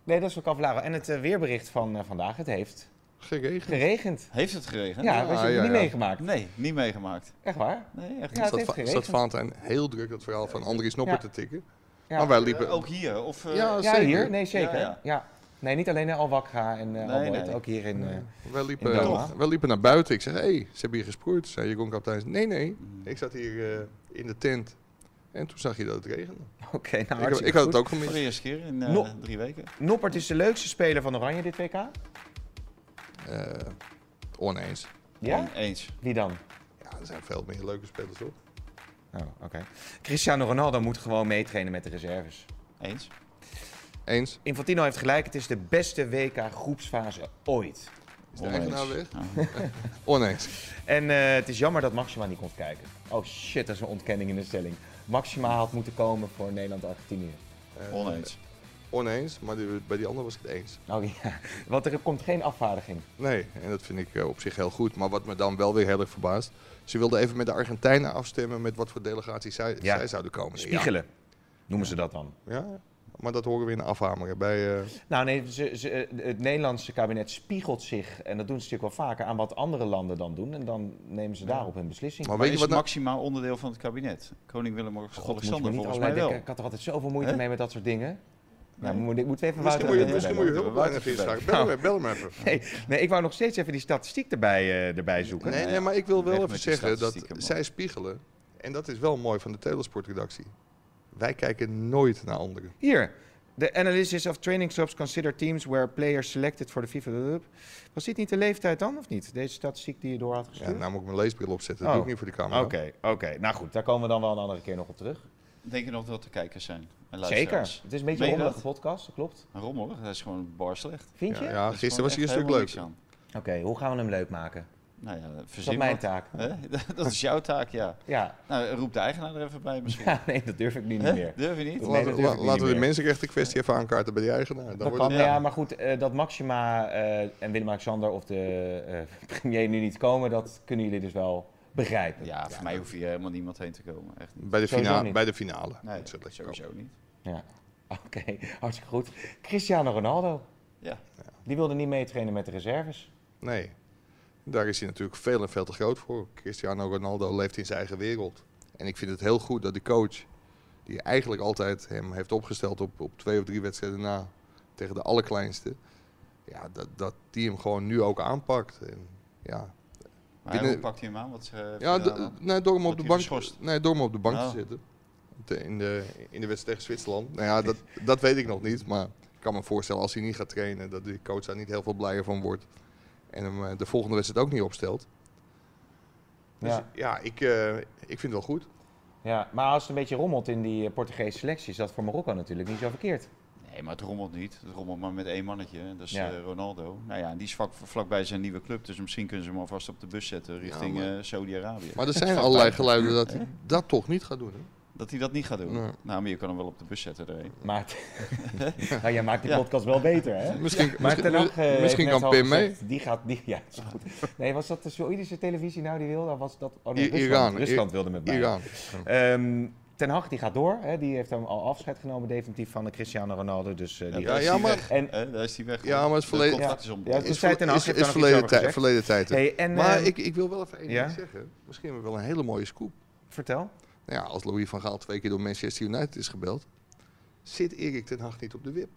[SPEAKER 5] Nee, dat is wel Cavallaro. En het eh, weerbericht van eh, vandaag, het heeft
[SPEAKER 7] Geregend.
[SPEAKER 5] geregend.
[SPEAKER 6] Heeft het geregend?
[SPEAKER 5] Ja, we hebben het
[SPEAKER 7] ja,
[SPEAKER 5] niet
[SPEAKER 7] ja.
[SPEAKER 5] meegemaakt.
[SPEAKER 6] Nee, niet meegemaakt.
[SPEAKER 5] Echt waar?
[SPEAKER 6] Nee, echt
[SPEAKER 5] Ja,
[SPEAKER 6] niet.
[SPEAKER 5] het
[SPEAKER 7] Zat,
[SPEAKER 5] heeft
[SPEAKER 7] Va-
[SPEAKER 5] geregend.
[SPEAKER 7] zat Valentijn heel druk dat verhaal van Andries Nopper
[SPEAKER 5] Ja.
[SPEAKER 7] te tikken.
[SPEAKER 5] Ja.
[SPEAKER 7] Maar wij liepen...
[SPEAKER 6] Ook hier? Of, eh,
[SPEAKER 7] Ja,
[SPEAKER 5] Ja,
[SPEAKER 7] zeker.
[SPEAKER 5] hier? Nee, zeker. Ja,
[SPEAKER 6] Ja, ja.
[SPEAKER 5] Nee, niet alleen in Al-Wakra en eh
[SPEAKER 6] Nee,
[SPEAKER 5] Al-Bayt,
[SPEAKER 6] nee.
[SPEAKER 5] ook hier in... eh,
[SPEAKER 7] Wij
[SPEAKER 5] In
[SPEAKER 7] liepen,
[SPEAKER 5] Doha.
[SPEAKER 7] wij liepen naar buiten. Ik zeg, hé, hey, ze hebben hier gesproeid. Zei Jeroen Kaptein, nee, nee.
[SPEAKER 6] Mm.
[SPEAKER 7] Ik zat hier eh, in de tent. En toen zag je dat het regende.
[SPEAKER 5] Oké, nou
[SPEAKER 7] Ik,
[SPEAKER 5] hartstikke
[SPEAKER 7] ik had het
[SPEAKER 5] goed.
[SPEAKER 7] ook
[SPEAKER 6] Voor
[SPEAKER 7] gemist.
[SPEAKER 6] de eerste keer in eh,
[SPEAKER 5] No.
[SPEAKER 6] drie weken.
[SPEAKER 5] Noppert is de leukste speler van Oranje dit WK.
[SPEAKER 7] Eh, oneens.
[SPEAKER 5] Ja?
[SPEAKER 6] Eens.
[SPEAKER 5] Wie dan?
[SPEAKER 7] Ja, er zijn veel meer leuke spelers, hoor.
[SPEAKER 5] Oh, oké. Cristiano Ronaldo moet gewoon meetrainen met de reserves.
[SPEAKER 6] Eens.
[SPEAKER 7] Eens.
[SPEAKER 5] Infantino heeft gelijk, het is de beste WK-groepsfase ooit.
[SPEAKER 7] Is de
[SPEAKER 6] Oneens.
[SPEAKER 7] eigenaar weg?
[SPEAKER 6] Ja.
[SPEAKER 7] Oneens.
[SPEAKER 5] En eh, het is jammer dat Maxima niet komt kijken. Oh shit, dat is een ontkenning in de stelling. Maxima had moeten komen voor Nederland-Argentinië.
[SPEAKER 7] Eh,
[SPEAKER 6] Oneens.
[SPEAKER 7] Oneens, maar die- bij die ander was ik het eens.
[SPEAKER 5] Oh ja, want er komt geen afvaardiging.
[SPEAKER 7] Nee, en dat vind ik eh, op zich heel goed. Maar wat me dan wel weer heel erg verbaast. Ze wilden even met de Argentijnen afstemmen met wat voor delegaties zij,
[SPEAKER 5] Ja.
[SPEAKER 7] zij zouden komen. Ja.
[SPEAKER 5] Spiegelen, noemen ze dat dan.
[SPEAKER 7] Ja. maar dat horen we in de afhameren. Bij, eh,
[SPEAKER 5] Nou nee, ze, ze, eh, het Nederlandse kabinet spiegelt zich, en dat doen ze natuurlijk wel vaker, aan wat andere landen dan doen. En dan nemen ze daarop hun beslissing.
[SPEAKER 7] Maar
[SPEAKER 6] Maar
[SPEAKER 7] weet je
[SPEAKER 6] is
[SPEAKER 7] wat nou-
[SPEAKER 6] maximaal onderdeel van het kabinet? Koning
[SPEAKER 5] God, moet je me
[SPEAKER 6] Willem-Alexander
[SPEAKER 5] niet
[SPEAKER 6] volgens
[SPEAKER 5] allerlei
[SPEAKER 6] mij wel.
[SPEAKER 5] denken. Ik had er altijd zoveel moeite
[SPEAKER 6] Hè?
[SPEAKER 5] mee met dat soort dingen. Nou,
[SPEAKER 6] Nee.
[SPEAKER 5] moet, ik- moeten we even
[SPEAKER 7] misschien
[SPEAKER 5] Wouter
[SPEAKER 7] moet je,
[SPEAKER 5] erbij
[SPEAKER 7] misschien moet
[SPEAKER 5] bellen.
[SPEAKER 7] je hulp bij
[SPEAKER 6] Wouter
[SPEAKER 7] NFV vragen.
[SPEAKER 6] erbij.
[SPEAKER 7] Bel hem, bel hem even.
[SPEAKER 5] Nee, nee, ik wou nog steeds even die statistiek erbij, eh, erbij zoeken.
[SPEAKER 7] Nee,
[SPEAKER 6] Nee,
[SPEAKER 7] nee, maar ik wil
[SPEAKER 6] weg
[SPEAKER 7] wel
[SPEAKER 6] met
[SPEAKER 7] even
[SPEAKER 6] die
[SPEAKER 7] zeggen dat
[SPEAKER 6] statistieken, man.
[SPEAKER 7] zij spiegelen. En dat is wel mooi van de Telesportredactie. Wij kijken nooit naar anderen.
[SPEAKER 5] Hier. The analysis of training clubs consider teams where players selected for the FIFA Cup. Was dit niet de leeftijd dan, of niet? Deze statistiek die je door had
[SPEAKER 7] Ja,
[SPEAKER 5] gestuurd?
[SPEAKER 7] nou moet ik mijn leesbril opzetten.
[SPEAKER 5] Hm? Oh.
[SPEAKER 7] Dat doe ik niet voor de
[SPEAKER 5] Oké,
[SPEAKER 7] camera.
[SPEAKER 5] oké. Nou goed, daar komen we dan wel een andere keer nog op terug.
[SPEAKER 6] Denk je nog dat er kijkers zijn? En
[SPEAKER 5] Zeker.
[SPEAKER 6] luisteraars?
[SPEAKER 5] Het is een beetje
[SPEAKER 6] Meen
[SPEAKER 5] een
[SPEAKER 6] je
[SPEAKER 5] rommelige podcast, dat klopt.
[SPEAKER 6] dat? Rommelig, dat is gewoon bar slecht.
[SPEAKER 5] Vind
[SPEAKER 7] Ja,
[SPEAKER 5] je?
[SPEAKER 7] ja,
[SPEAKER 6] Dat is
[SPEAKER 7] gisteren was hij
[SPEAKER 6] gewoon
[SPEAKER 7] een
[SPEAKER 6] echt
[SPEAKER 7] stuk
[SPEAKER 6] helemaal
[SPEAKER 7] leuker.
[SPEAKER 6] niks aan.
[SPEAKER 5] Oké, hoe gaan we hem leuk maken?
[SPEAKER 6] Nou ja,
[SPEAKER 5] Is dat
[SPEAKER 6] verzin
[SPEAKER 5] mijn
[SPEAKER 6] wat.
[SPEAKER 5] taak?
[SPEAKER 6] Hè? Dat is jouw taak, ja.
[SPEAKER 5] Ja.
[SPEAKER 6] Nou, roep de eigenaar er even bij misschien.
[SPEAKER 5] ja, nee, dat durf ik nu niet
[SPEAKER 6] Hè?
[SPEAKER 5] meer.
[SPEAKER 6] Durf je niet?
[SPEAKER 5] Nee,
[SPEAKER 7] Laten,
[SPEAKER 5] dat
[SPEAKER 7] we-
[SPEAKER 5] durf ik
[SPEAKER 7] la-
[SPEAKER 5] niet
[SPEAKER 7] laten we de
[SPEAKER 5] meer.
[SPEAKER 7] mensenrechten kwestie even aankaarten bij die eigenaar. Dan
[SPEAKER 5] Dat
[SPEAKER 7] wordt
[SPEAKER 5] kan,
[SPEAKER 7] het
[SPEAKER 5] ja, maar goed, eh, dat Maxima eh, en Willem-Alexander of de eh, premier nu niet komen, dat kunnen jullie dus wel begrijpen.
[SPEAKER 6] Ja, voor mij hoef je helemaal niemand heen te komen. Echt niet.
[SPEAKER 7] bij de,
[SPEAKER 5] Sowieso
[SPEAKER 7] fina-
[SPEAKER 5] niet.
[SPEAKER 7] bij de finale.
[SPEAKER 6] Nee,
[SPEAKER 7] Dat zullen we komen.
[SPEAKER 6] sowieso niet.
[SPEAKER 5] Ja. Oké, hartstikke goed. Cristiano Ronaldo,
[SPEAKER 6] Ja,
[SPEAKER 5] die wilde niet meetrainen met de reserves.
[SPEAKER 7] Nee. Daar is hij natuurlijk veel en veel te groot voor. Cristiano Ronaldo leeft in zijn eigen wereld. En ik vind het heel goed dat de coach, die eigenlijk altijd hem heeft opgesteld op, op twee of drie wedstrijden na tegen de allerkleinste, ja, dat, dat die hem gewoon nu ook aanpakt. En, ja,
[SPEAKER 6] maar
[SPEAKER 7] Binnen-
[SPEAKER 6] hoe pakt hij hem aan? Wat, eh,
[SPEAKER 7] ja
[SPEAKER 6] vertel
[SPEAKER 7] d-
[SPEAKER 6] dan?
[SPEAKER 7] nee, door hem
[SPEAKER 6] Wordt
[SPEAKER 7] op
[SPEAKER 6] hij
[SPEAKER 7] de bank,
[SPEAKER 6] geschorst?
[SPEAKER 7] nee, door hem op de bank
[SPEAKER 6] Oh.
[SPEAKER 7] te zitten. Te- In de, in de wedstrijd tegen Zwitserland. Nou ja, dat, dat weet ik nog niet. Maar ik kan me voorstellen als hij niet gaat trainen, dat de coach daar niet heel veel blijer van wordt. En hem eh, de volgende wedstrijd ook niet opstelt. Dus ja,
[SPEAKER 5] Ja.
[SPEAKER 7] ik, eh, ik vind het wel goed.
[SPEAKER 5] Ja, maar als het een beetje rommelt in die eh, Portugese selectie, is dat voor Marokko natuurlijk niet zo verkeerd.
[SPEAKER 6] Nee, maar het rommelt niet. Het rommelt maar met één mannetje. en Dat is
[SPEAKER 5] Ja.
[SPEAKER 6] eh, Ronaldo. Nou ja, en die is vlak, vlakbij zijn nieuwe club. Dus misschien kunnen ze hem alvast op de bus zetten richting
[SPEAKER 7] maar-
[SPEAKER 6] eh, Saudi-Arabië.
[SPEAKER 7] Maar er zijn allerlei geluiden dat hij dat toch niet gaat doen. Hè?
[SPEAKER 6] Dat hij dat niet gaat doen.
[SPEAKER 7] Nee.
[SPEAKER 6] Nou, maar je kan hem wel op de bus zetten erheen.
[SPEAKER 5] Maar het- nou, jij maakt die podcast wel beter, hè?
[SPEAKER 7] Misschien,
[SPEAKER 5] Maar
[SPEAKER 7] misschien,
[SPEAKER 5] Ten Hag, eh, heeft
[SPEAKER 7] misschien
[SPEAKER 5] net
[SPEAKER 7] kan
[SPEAKER 5] al
[SPEAKER 7] Pim mee.
[SPEAKER 5] gezegd, Die gaat, die, ja, is goed. Nee, was dat de Saoedische televisie nou die wilde? Of was dat, oh nee,
[SPEAKER 7] I-
[SPEAKER 5] Rusland,
[SPEAKER 7] Iran.
[SPEAKER 5] Rusland
[SPEAKER 7] I-
[SPEAKER 5] wilde met mij.
[SPEAKER 7] Iran.
[SPEAKER 5] Ehm, Ten Hag die gaat door. Hè? Die heeft hem al afscheid genomen definitief van de Cristiano Ronaldo. Dus, eh, die
[SPEAKER 7] Ja,
[SPEAKER 6] daar is
[SPEAKER 7] ja,
[SPEAKER 6] hij
[SPEAKER 7] maar-
[SPEAKER 6] weg.
[SPEAKER 5] En-
[SPEAKER 6] Eh, daar is hij weg.
[SPEAKER 7] Ja, maar het is
[SPEAKER 6] De
[SPEAKER 7] volledig-
[SPEAKER 6] contract
[SPEAKER 5] Ja.
[SPEAKER 6] is om.
[SPEAKER 5] Ja, het
[SPEAKER 7] Is,
[SPEAKER 5] Dus zei Ten Hag,
[SPEAKER 7] is,
[SPEAKER 5] heeft
[SPEAKER 7] is
[SPEAKER 5] daar nog iets
[SPEAKER 7] verleden,
[SPEAKER 5] over
[SPEAKER 7] tijd,
[SPEAKER 5] gezegd?
[SPEAKER 7] verleden tijd. hè.
[SPEAKER 5] Hey, en,
[SPEAKER 7] maar
[SPEAKER 5] ehm,
[SPEAKER 7] ik, ik wil wel even één
[SPEAKER 5] ja?
[SPEAKER 7] ding zeggen. Misschien hebben we wel een hele mooie scoop.
[SPEAKER 5] Vertel.
[SPEAKER 7] Nou ja, als Louis van Gaal twee keer door Manchester United is gebeld, zit Erik ten Hag niet op de wip.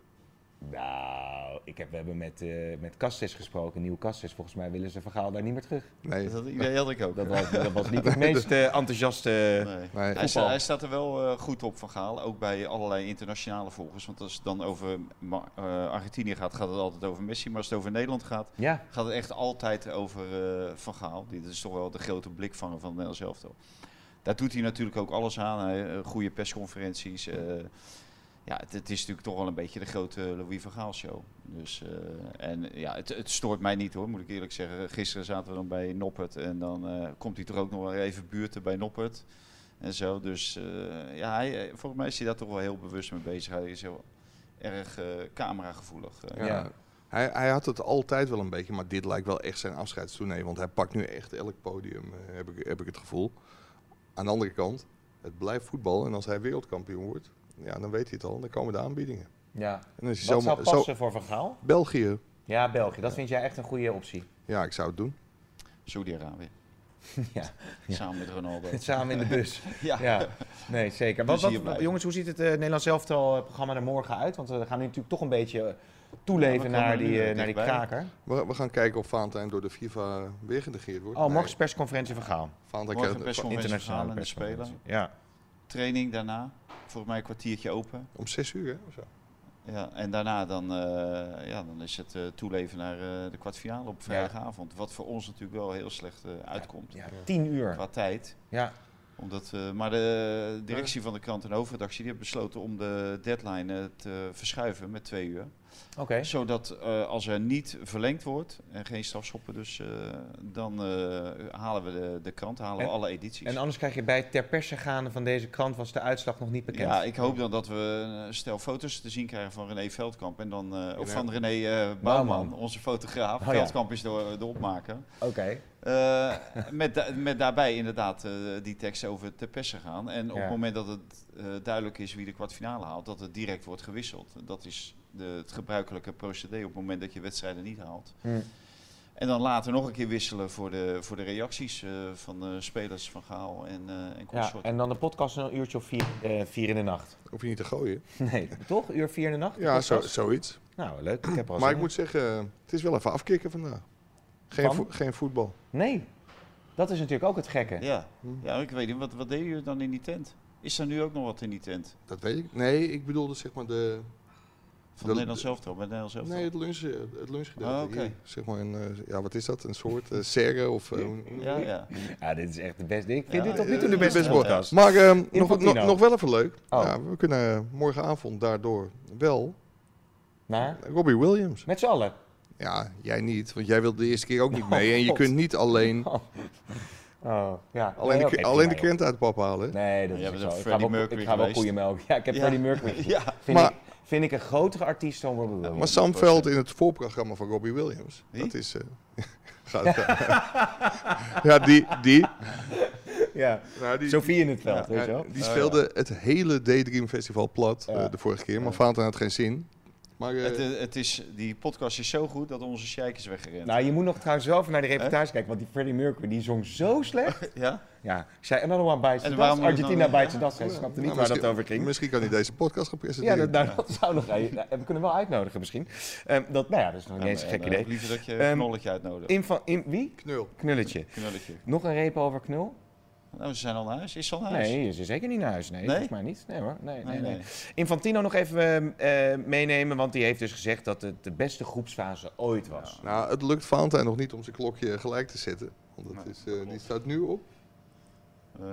[SPEAKER 5] Nou, ik heb, we hebben met, eh met Castes gesproken, nieuwe Castes. Volgens mij willen ze Vergaal daar niet meer terug.
[SPEAKER 7] Nee,
[SPEAKER 6] Dat idee had ik ook.
[SPEAKER 5] Dat was, dat was niet het meest eh, enthousiaste...
[SPEAKER 6] Nee.
[SPEAKER 7] nee.
[SPEAKER 6] Hij, sta-
[SPEAKER 5] Voetbal.
[SPEAKER 6] hij staat er wel eh, goed op van Gaal, ook bij allerlei internationale volgers. Want als het dan over Ma- eh, Argentinië gaat, gaat het altijd over Messi. Maar als het over Nederland gaat,
[SPEAKER 5] Ja,
[SPEAKER 6] gaat het echt altijd over eh, Van Gaal. Dit is toch wel de grote blikvanger van het Nederlands elftal. Daar doet hij natuurlijk ook alles aan. Hij, eh, goede persconferenties. eh, ja, het, het is natuurlijk toch wel een beetje de grote Louis van Gaal show. Dus, eh, en ja, het, het stoort mij niet hoor, moet ik eerlijk zeggen. Gisteren zaten we dan bij Noppert en dan eh, komt hij toch ook nog wel even buurten bij Noppert. En zo, dus eh, ja, hij, eh, volgens mij is hij daar toch wel heel bewust mee bezig. Hij is heel erg eh, cameragevoelig. eh.
[SPEAKER 7] Ja.
[SPEAKER 5] Ja.
[SPEAKER 7] Hij, hij had het altijd wel een beetje, maar dit lijkt wel echt zijn afscheidstoernee. Want hij pakt nu echt elk podium, eh, heb ik, heb ik het gevoel. Aan de andere kant, het blijft voetbal. En als hij wereldkampioen wordt, ja, dan weet hij het al. Dan komen de aanbiedingen.
[SPEAKER 5] ja.
[SPEAKER 7] En als je
[SPEAKER 5] Wat
[SPEAKER 7] zomaar-
[SPEAKER 5] zou passen voor Vergaal?
[SPEAKER 7] België,
[SPEAKER 5] Ja, België. Dat vind jij echt een goede optie.
[SPEAKER 7] ja, ik zou het doen.
[SPEAKER 6] Saudi-Arabië.
[SPEAKER 5] Ja.
[SPEAKER 6] Samen met Ronaldo.
[SPEAKER 5] Samen in de bus.
[SPEAKER 6] ja.
[SPEAKER 5] Ja, nee, zeker. Wat,
[SPEAKER 6] Plezier
[SPEAKER 5] wat-
[SPEAKER 6] Dus blijven.
[SPEAKER 5] jongens, hoe ziet het eh, Nederlands Elftal-programma er morgen uit? Want eh, we gaan nu natuurlijk toch een beetje eh, toeleven
[SPEAKER 6] Ja, we
[SPEAKER 5] naar,
[SPEAKER 6] komen
[SPEAKER 5] die,
[SPEAKER 6] nu,
[SPEAKER 5] eh,
[SPEAKER 6] eh,
[SPEAKER 5] naar die
[SPEAKER 6] dichtbij.
[SPEAKER 5] kraker.
[SPEAKER 7] We, we gaan kijken of Valentijn door de FIFA weer genegeerd wordt.
[SPEAKER 5] Oh,
[SPEAKER 7] Nee,
[SPEAKER 5] morgen is persconferentie van Gaal.
[SPEAKER 6] Morgen
[SPEAKER 7] Valentijn krijgt het-
[SPEAKER 6] persconferentie
[SPEAKER 5] Internationale
[SPEAKER 6] verhalen en de speler.
[SPEAKER 5] persconferentie. Ja.
[SPEAKER 6] Training daarna, volgens mij een kwartiertje open.
[SPEAKER 7] om zes uur, hè? Of zo.
[SPEAKER 6] Ja, en daarna dan, eh, ja, dan is het eh, toeleven naar eh, de kwartfinale op vrijdagavond. Wat voor ons natuurlijk wel heel slecht eh, uitkomt
[SPEAKER 5] ja, tien uur.
[SPEAKER 6] qua tijd.
[SPEAKER 5] Ja.
[SPEAKER 6] Omdat, eh, maar de directie van de krant en de hoofdredactie die hebben besloten om de deadline eh, te verschuiven met twee uur.
[SPEAKER 5] Oké.
[SPEAKER 6] Zodat eh, als er niet verlengd wordt en geen strafschoppen, dus, eh, dan eh, halen we de, de krant, halen
[SPEAKER 5] En-
[SPEAKER 6] we alle edities.
[SPEAKER 5] En anders krijg je bij het ter perse gaande van deze krant was de uitslag nog niet bekend.
[SPEAKER 6] Ja, ik hoop dan dat we een stel foto's te zien krijgen van René Veldkamp. En dan eh, ook van René eh, Bouwman,
[SPEAKER 5] Bouwman.
[SPEAKER 6] onze fotograaf.
[SPEAKER 5] Oh ja.
[SPEAKER 6] Veldkamp is de, de opmaker.
[SPEAKER 5] Oké.
[SPEAKER 6] Eh, met, da- met daarbij inderdaad eh, die tekst over te persen gaan. En op
[SPEAKER 5] Ja.
[SPEAKER 6] het moment dat het eh, duidelijk is wie de kwartfinale haalt, dat het direct wordt gewisseld. Dat is de, het gebruikelijke procedé op het moment dat je wedstrijden niet haalt.
[SPEAKER 5] Hmm.
[SPEAKER 6] En dan later nog een keer wisselen voor de, voor de reacties eh, van de spelers van Gaal en, eh en
[SPEAKER 5] Ja,
[SPEAKER 6] consorten.
[SPEAKER 5] en dan de podcast een uurtje of vier, eh, vier in de nacht.
[SPEAKER 7] Hoef je niet te gooien.
[SPEAKER 5] Nee, toch? Uur vier in de nacht? de
[SPEAKER 7] Ja, zo,
[SPEAKER 5] podcast?
[SPEAKER 7] zoiets.
[SPEAKER 5] Nou, leuk. Ik heb er al
[SPEAKER 7] Maar
[SPEAKER 5] zin
[SPEAKER 7] ik
[SPEAKER 5] in.
[SPEAKER 7] moet zeggen, het is wel even afkicken vandaag. Geen,
[SPEAKER 5] Van?
[SPEAKER 7] vo- geen voetbal.
[SPEAKER 5] Nee, dat is natuurlijk ook het gekke.
[SPEAKER 6] Ja,
[SPEAKER 5] Hm.
[SPEAKER 6] ja ik weet niet. Wat, wat deden jullie dan in die tent? Is er nu ook nog wat in die tent?
[SPEAKER 7] Dat weet ik. Nee, ik bedoelde zeg maar de,
[SPEAKER 6] Van
[SPEAKER 7] Dat-
[SPEAKER 6] Nederland zelf toch? Bij Nederland zelf
[SPEAKER 7] Nee, het, lunch, eh, het lunchgedeelte.
[SPEAKER 6] Ah, oké.
[SPEAKER 7] hier. Zeg maar een, eh, ja, wat is dat? Een soort eh serre of... eh, hoe- hoe-
[SPEAKER 6] Ja, ja.
[SPEAKER 5] Ja, dit is echt de beste. Ik vind
[SPEAKER 6] Ja,
[SPEAKER 5] dit tot nu toe
[SPEAKER 7] eh,
[SPEAKER 5] de beste,
[SPEAKER 7] beste
[SPEAKER 5] podcast.
[SPEAKER 7] Maar ehm, nog,
[SPEAKER 5] Infantino.
[SPEAKER 7] nog, nog wel even leuk.
[SPEAKER 5] Oh.
[SPEAKER 7] Ja, we kunnen morgenavond daardoor wel
[SPEAKER 5] Maar
[SPEAKER 7] Robbie Williams.
[SPEAKER 5] met z'n allen.
[SPEAKER 7] Ja, jij niet, want jij wilde de eerste keer ook niet mee. En je
[SPEAKER 5] God.
[SPEAKER 7] kunt niet alleen,
[SPEAKER 5] Oh, ja.
[SPEAKER 7] alleen,
[SPEAKER 5] Nee,
[SPEAKER 7] de,
[SPEAKER 5] oké,
[SPEAKER 7] alleen de
[SPEAKER 5] prima,
[SPEAKER 7] krent uit het pap halen. hè?
[SPEAKER 5] joh. Nee, dat
[SPEAKER 6] Jij
[SPEAKER 5] is
[SPEAKER 6] bent
[SPEAKER 5] niet
[SPEAKER 6] een
[SPEAKER 5] zo. Ik ga
[SPEAKER 6] Freddie
[SPEAKER 5] wel, ik
[SPEAKER 6] Mercury
[SPEAKER 5] ga wel
[SPEAKER 6] geweest.
[SPEAKER 5] koeienmelk. Ja, ik heb
[SPEAKER 6] Ja.
[SPEAKER 5] Freddie Mercury.
[SPEAKER 6] Ja,
[SPEAKER 5] Vind,
[SPEAKER 7] Maar-
[SPEAKER 5] ik, vind ik een grotere artiest dan Robbie Williams.
[SPEAKER 7] Maar Sam Veld in het voorprogramma van Robbie Williams.
[SPEAKER 6] Wie?
[SPEAKER 7] Dat is... eh, gaat, ja, die... die,
[SPEAKER 5] Ja,
[SPEAKER 7] nou, die
[SPEAKER 5] Sofie in het veld,
[SPEAKER 7] Ja,
[SPEAKER 5] weet je wel.
[SPEAKER 7] eh, Die speelde het hele Daydream Festival plat eh, de vorige keer, maar Vaanten had geen zin. Maar eh,
[SPEAKER 6] Het, eh, het is, die podcast is zo goed dat onze sheik is weggerend.
[SPEAKER 5] Nou, je moet nog trouwens wel even naar de reportage kijken, want die Freddie Mercury die zong zo slecht.
[SPEAKER 6] ja?
[SPEAKER 5] Ja, ik zei another one bites the
[SPEAKER 6] En
[SPEAKER 5] dust,
[SPEAKER 6] waarom moet je
[SPEAKER 5] Argentina
[SPEAKER 6] dan-
[SPEAKER 5] bites the dust. Ik snapte niet
[SPEAKER 7] nou,
[SPEAKER 5] waar dat
[SPEAKER 7] misschien-
[SPEAKER 5] over ging.
[SPEAKER 7] Misschien kan hij deze podcast gaan
[SPEAKER 5] Ja,
[SPEAKER 7] presenteren.
[SPEAKER 5] dat, nou, dat zou nog... eh, nou, We kunnen wel uitnodigen misschien. Ehm, dat, nou ja, dat is nog niet eens een gek
[SPEAKER 6] En, eh,
[SPEAKER 5] idee.
[SPEAKER 6] Liever dat je
[SPEAKER 5] Ehm,
[SPEAKER 6] een knolletje uitnodigt.
[SPEAKER 5] In van, in, wie?
[SPEAKER 7] Knul.
[SPEAKER 5] Knulletje.
[SPEAKER 6] Knolletje.
[SPEAKER 5] Nog een reep over knul?
[SPEAKER 6] Nou, ze zijn al naar huis. Is ze al naar huis?
[SPEAKER 5] Nee, ze is zeker niet naar huis. Nee,
[SPEAKER 6] Nee?
[SPEAKER 5] volgens mij niet. Nee hoor. Nee, nee,
[SPEAKER 6] Nee,
[SPEAKER 5] nee.
[SPEAKER 6] nee.
[SPEAKER 5] Infantino nog even eh, eh, meenemen, want die heeft dus gezegd dat het de beste groepsfase ooit was.
[SPEAKER 7] Nou, het lukt Vaanten nog niet om zijn klokje gelijk te zetten. Want dat is, eh, die staat nu op.
[SPEAKER 6] Eh,